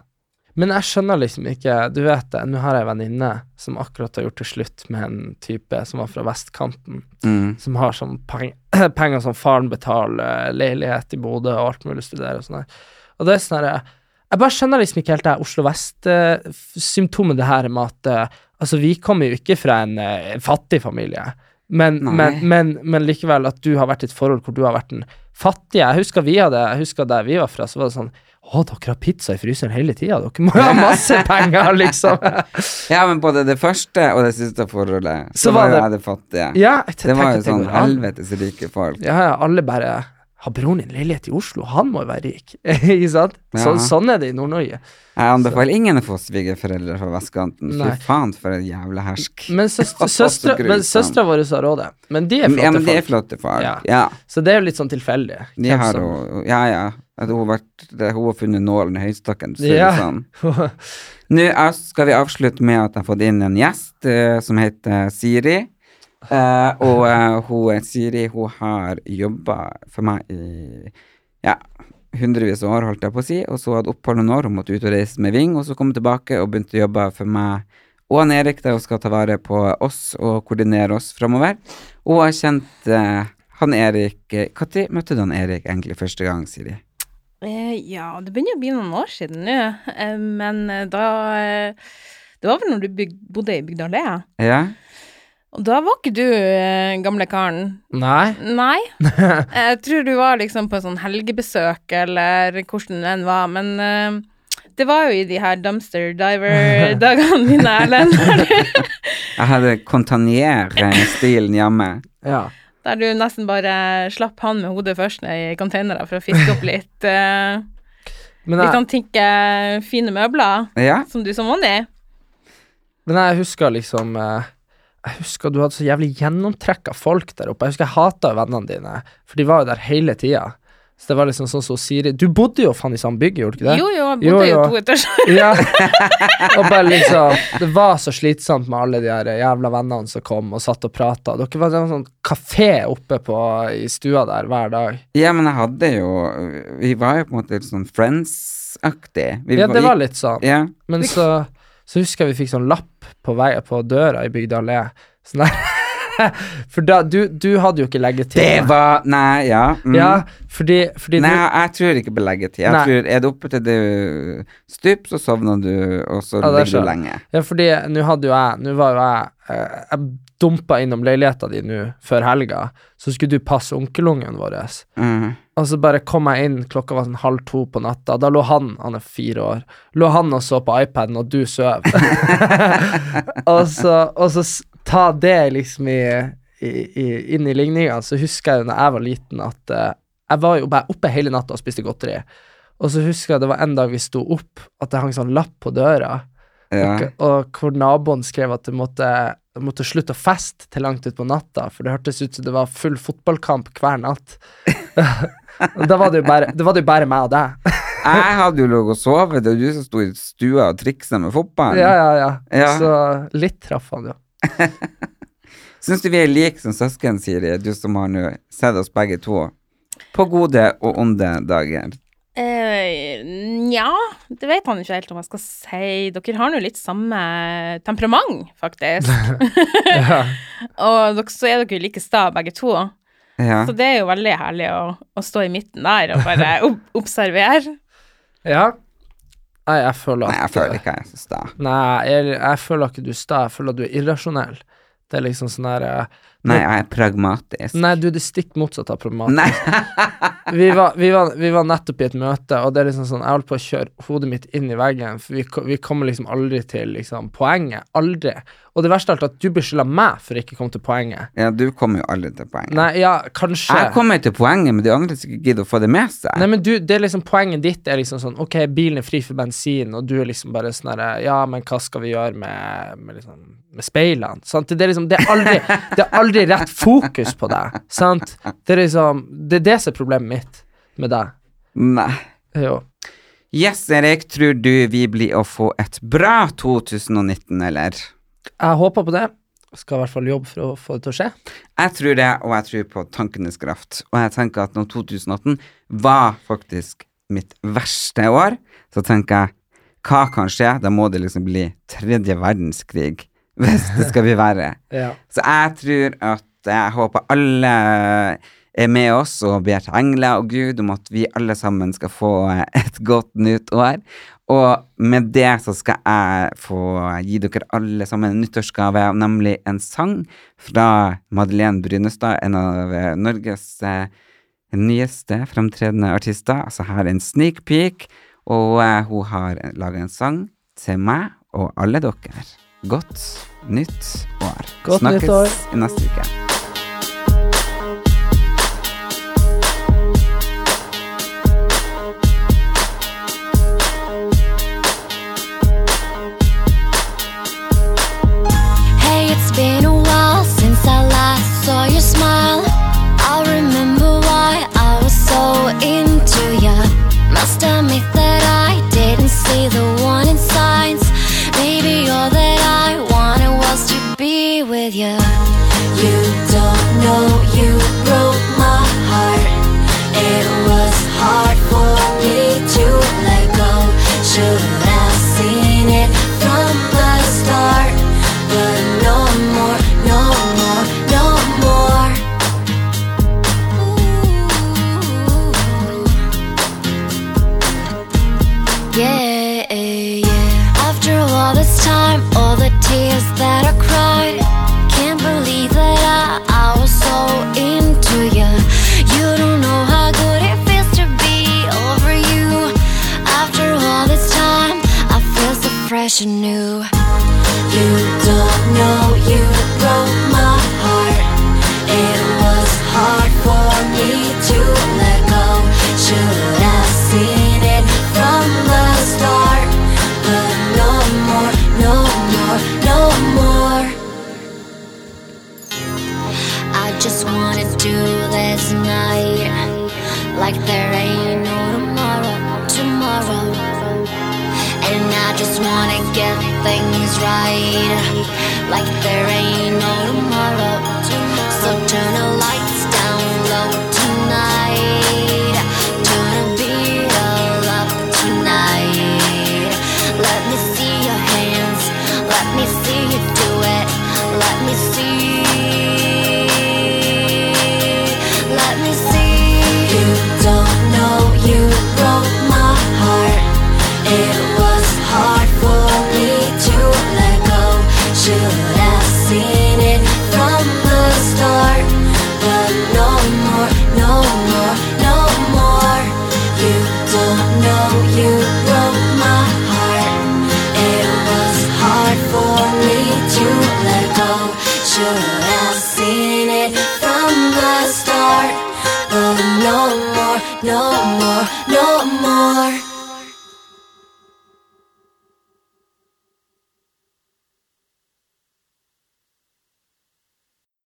Speaker 3: Men jeg skjønner liksom ikke Du vet det, nå har jeg ei venninne som akkurat har gjort det slutt med en type som var fra vestkanten
Speaker 1: Mm.
Speaker 3: som har sånn peng penger som faren betaler, leilighet i Bodø og alt mulig studerer og sånn her. Og det er sånn her Jeg bare skjønner liksom ikke helt det her Oslo Vest-symptomet, det her med at eh, Altså, vi kommer jo ikke fra en eh, fattig familie, men,
Speaker 1: Nei.
Speaker 3: men, men, men likevel at du har vært i et forhold hvor du har vært den fattige. Jeg husker vi hadde Jeg husker der vi var fra, så var det sånn å, dere har pizza i fryseren hele tida. Dere må ha masse penger, liksom.
Speaker 1: ja, men både det første og det siste forholdet, så,
Speaker 3: Så
Speaker 1: var
Speaker 3: var
Speaker 1: jo
Speaker 3: det-
Speaker 1: jeg det fattige.
Speaker 3: Ja, jeg
Speaker 1: det var
Speaker 3: tenker
Speaker 1: jo
Speaker 3: at
Speaker 1: sånn
Speaker 3: går an.
Speaker 1: helvetes rike folk.
Speaker 3: Ja, ja, alle bare Har broren din leilighet i Oslo? Han må jo være rik. Ikke sant? Så,
Speaker 1: Ja.
Speaker 3: Sånn er det i Nord-Norge.
Speaker 1: Jeg anbefaler ingen å få svigerforeldre fra vestkanten. Fy
Speaker 3: Nei.
Speaker 1: faen, for en jævla hersk.
Speaker 3: Men søst-
Speaker 1: Så
Speaker 3: søstre- men
Speaker 1: grusomt.
Speaker 3: søstera vår har råd, det. Men Mm, de er flotte
Speaker 1: Ja, men de er
Speaker 3: folk.
Speaker 1: flotte folk. Ja.
Speaker 3: Ja. Så det er jo litt sånn tilfeldig.
Speaker 1: De
Speaker 3: hvem
Speaker 1: har
Speaker 3: som-
Speaker 1: jo Ja, ja. At hun, har vært, det, hun har funnet nålen i høystakken. Så
Speaker 3: Ja.
Speaker 1: sånn. Nå er- skal vi avslutte med at jeg har fått inn en gjest eh, som heter Siri. Eh, og eh, hun, Siri hun har jobba for meg i ja, hundrevis av år, holdt jeg på å si. Og så hadde opphold noen år, hun måtte ut og reise med Ving, og så kom hun tilbake og begynte å jobbe for meg og han Erik, der hun skal ta vare på oss og koordinere oss framover. Og har kjent eh, han Erik eh, Når møtte du han Erik egentlig første gang, Siri?
Speaker 4: Eh, ja, det begynner å bli noen år siden nå. Eh, men eh, da eh, Det var vel når du byg bodde i Bygda Allé.
Speaker 1: Ja?
Speaker 4: Og da var ikke du eh, gamle karen.
Speaker 3: Nei.
Speaker 4: Nei. Jeg tror du var liksom på en sånn helgebesøk, eller hvordan det enn var. Men eh, det var jo i de her dumpster diver-dagene dine, Erlend.
Speaker 1: Jeg hadde Contanier-stilen hjemme.
Speaker 3: Ja.
Speaker 4: Der du nesten bare slapp han med hodet først ned i containere for å fiske opp litt. eh,
Speaker 3: Men,
Speaker 4: litt
Speaker 3: jeg,
Speaker 4: antikke, fine møbler
Speaker 1: Ja,
Speaker 4: som du som vanlig.
Speaker 3: men jeg husker liksom eh, Jeg husker du hadde så jævlig gjennomtrekk av folk der oppe. Jeg husker jeg hata vennene dine, for de var jo der hele tida. Så det var liksom sånn som Siri Du bodde jo faen i samme bygg, gjorde du ikke det?
Speaker 4: Jo, jo, jeg
Speaker 3: Jo,
Speaker 4: bodde jo,
Speaker 3: jo.
Speaker 4: to etasjer.
Speaker 3: Ja. Og bare liksom Det var så slitsomt med alle de her jævla vennene som kom og satt og prata. Dere var det var en sånn kafé oppe på, i stua der hver dag.
Speaker 1: ja men jeg hadde jo Vi var jo på en måte litt sånn Friends-aktig. Vi
Speaker 3: Ja, det var
Speaker 1: gikk-
Speaker 3: litt sånn.
Speaker 1: Ja.
Speaker 3: Men så, så husker jeg vi fikk sånn lapp på, vei, på døra i Bygda allé. Sånn der. For da, du, du hadde jo ikke
Speaker 1: Det
Speaker 3: leggetid.
Speaker 1: var Nei, ja. mm.
Speaker 3: Ja, fordi, fordi
Speaker 1: Nei,
Speaker 3: du
Speaker 1: jeg tror ikke på leggetid. Jeg
Speaker 3: Nei.
Speaker 1: tror, er du oppe til du stup, så sovner du, og så
Speaker 3: Ja, det
Speaker 1: ligger
Speaker 3: skjønner.
Speaker 1: du lenge.
Speaker 3: Ja, fordi nå hadde jo jeg Nå var jo jeg eh, Jeg dumpa innom leiligheta di nå før helga, så skulle du passe onkelungen vår.
Speaker 1: Mm.
Speaker 3: Og så bare kom jeg inn, klokka var sånn halv to på natta. Da lå han, han er fire år, lå han og så på iPaden, og du søv. og så, og så s- ta det liksom i, i, i, inn i ligninga. Så husker jeg da jeg var liten, at eh, jeg var jo bare oppe hele natta og spiste godteri. Og så husker jeg det var en dag vi sto opp, at det hang sånn lapp på døra,
Speaker 1: Ja.
Speaker 3: og, og hvor naboen skrev at det måtte, det måtte slutte å feste til langt utpå natta, for det hørtes ut som det var full fotballkamp hver natt. Og da var det jo bare, det var det jo bare meg og deg.
Speaker 1: Jeg hadde jo ligget og sovet, det var du som sto i stua og triksa med fotballen.
Speaker 3: ja, ja, ja.
Speaker 1: Ja.
Speaker 3: Så litt traff han, jo.
Speaker 1: Syns du vi er like som søsken, Siri, du som har nå sett oss begge to? På gode og onde dager.
Speaker 4: Eh, Nja, det vet han ikke helt om jeg skal si. Dere har nå litt samme temperament, faktisk.
Speaker 3: Ja.
Speaker 4: Og dere, så er dere jo like sta, begge to.
Speaker 1: Ja.
Speaker 4: Så det er jo veldig herlig å, å stå i midten der og bare ob observere.
Speaker 3: ja. Nei, jeg føler
Speaker 1: Nei,
Speaker 3: at
Speaker 1: jeg føler ikke jeg er så sta.
Speaker 3: Nei, jeg, jeg føler ikke du er sta, jeg føler at du er irrasjonell. Det er liksom sånn her eh,
Speaker 1: Nei, jeg er pragmatisk.
Speaker 3: Nei, du er det stikk motsatte av problematisk.
Speaker 1: Nei.
Speaker 3: Vi var, vi, var, vi var nettopp i et møte, og det er liksom sånn Jeg holdt på å kjøre hodet mitt inn i veggen, for vi, ko- vi kommer liksom aldri til liksom, poenget. Aldri. Og det verste av alt er at du beskylder meg for ikke å komme til poenget.
Speaker 1: Ja, du kommer jo aldri til poenget.
Speaker 3: Nei, ja, kanskje
Speaker 1: Jeg kommer til poenget, men de andre som ikke gidder å få det med seg.
Speaker 3: Nei, men du, det er liksom Poenget ditt er liksom sånn Ok, bilen er fri for bensin, og du er liksom bare sånn herre Ja, men hva skal vi gjøre med, med, liksom, med speilene? Sant? Det er liksom det er, aldri, det er aldri rett fokus på deg. Sant? Det er liksom Det er det som er problemet mitt med deg. Eh,
Speaker 1: Nei.
Speaker 3: Jo.
Speaker 1: Yes, Erik, tror du vi blir å få et bra 2019, eller?
Speaker 3: Jeg håper på det. Skal i hvert fall jobbe for å få det til å skje.
Speaker 1: Jeg tror det, og jeg tror på tankenes kraft. Og jeg tenker at når 2018 var faktisk mitt verste år, så tenker jeg hva kan skje? Da må det liksom bli tredje verdenskrig, hvis det skal bli verre.
Speaker 3: Ja.
Speaker 1: Så jeg tror at jeg håper alle er med oss og ber til engler og Gud om at vi alle sammen skal få et godt nytt år. Og med det så skal jeg få gi dere alle sammen en nyttårsgave, nemlig en sang fra Madeleine Brynestad, en av Norges eh, nyeste fremtredende artister. Altså her er en sneak peek, og eh, hun har laga en sang til meg og alle dere. Godt nytt år.
Speaker 3: Godt nytt
Speaker 1: Snakkes
Speaker 3: år.
Speaker 1: i neste uke.
Speaker 5: Hey, it's been a while since I last saw your smile. I remember why I was so into ya. Must admit that I didn't see the warning signs. Maybe all that I wanted was to be with ya. You don't know you broke my heart. It was hard for me to let go. Should have seen it from the start. But no more, no more, no more. Yeah, yeah. After all this time, all the tears that I cried, can't believe that I, I was so into you. You don't know how good it feels to be over you. After all this time, I feel so fresh and new. You don't know you like there ain't no tomorrow, tomorrow. And I just wanna get things right, like there ain't no tomorrow. So turn the lights down low tonight, turn the beat all up tonight. Let me see your hands, let me see you do it, let me see. Let me see. You don't know you broke my heart. It was hard for me to let go. Should have seen it from the start. But no more, no more, no more. You don't know you broke my heart. It was hard for me to let go. Should have seen it from the start. But no more, no more, no more.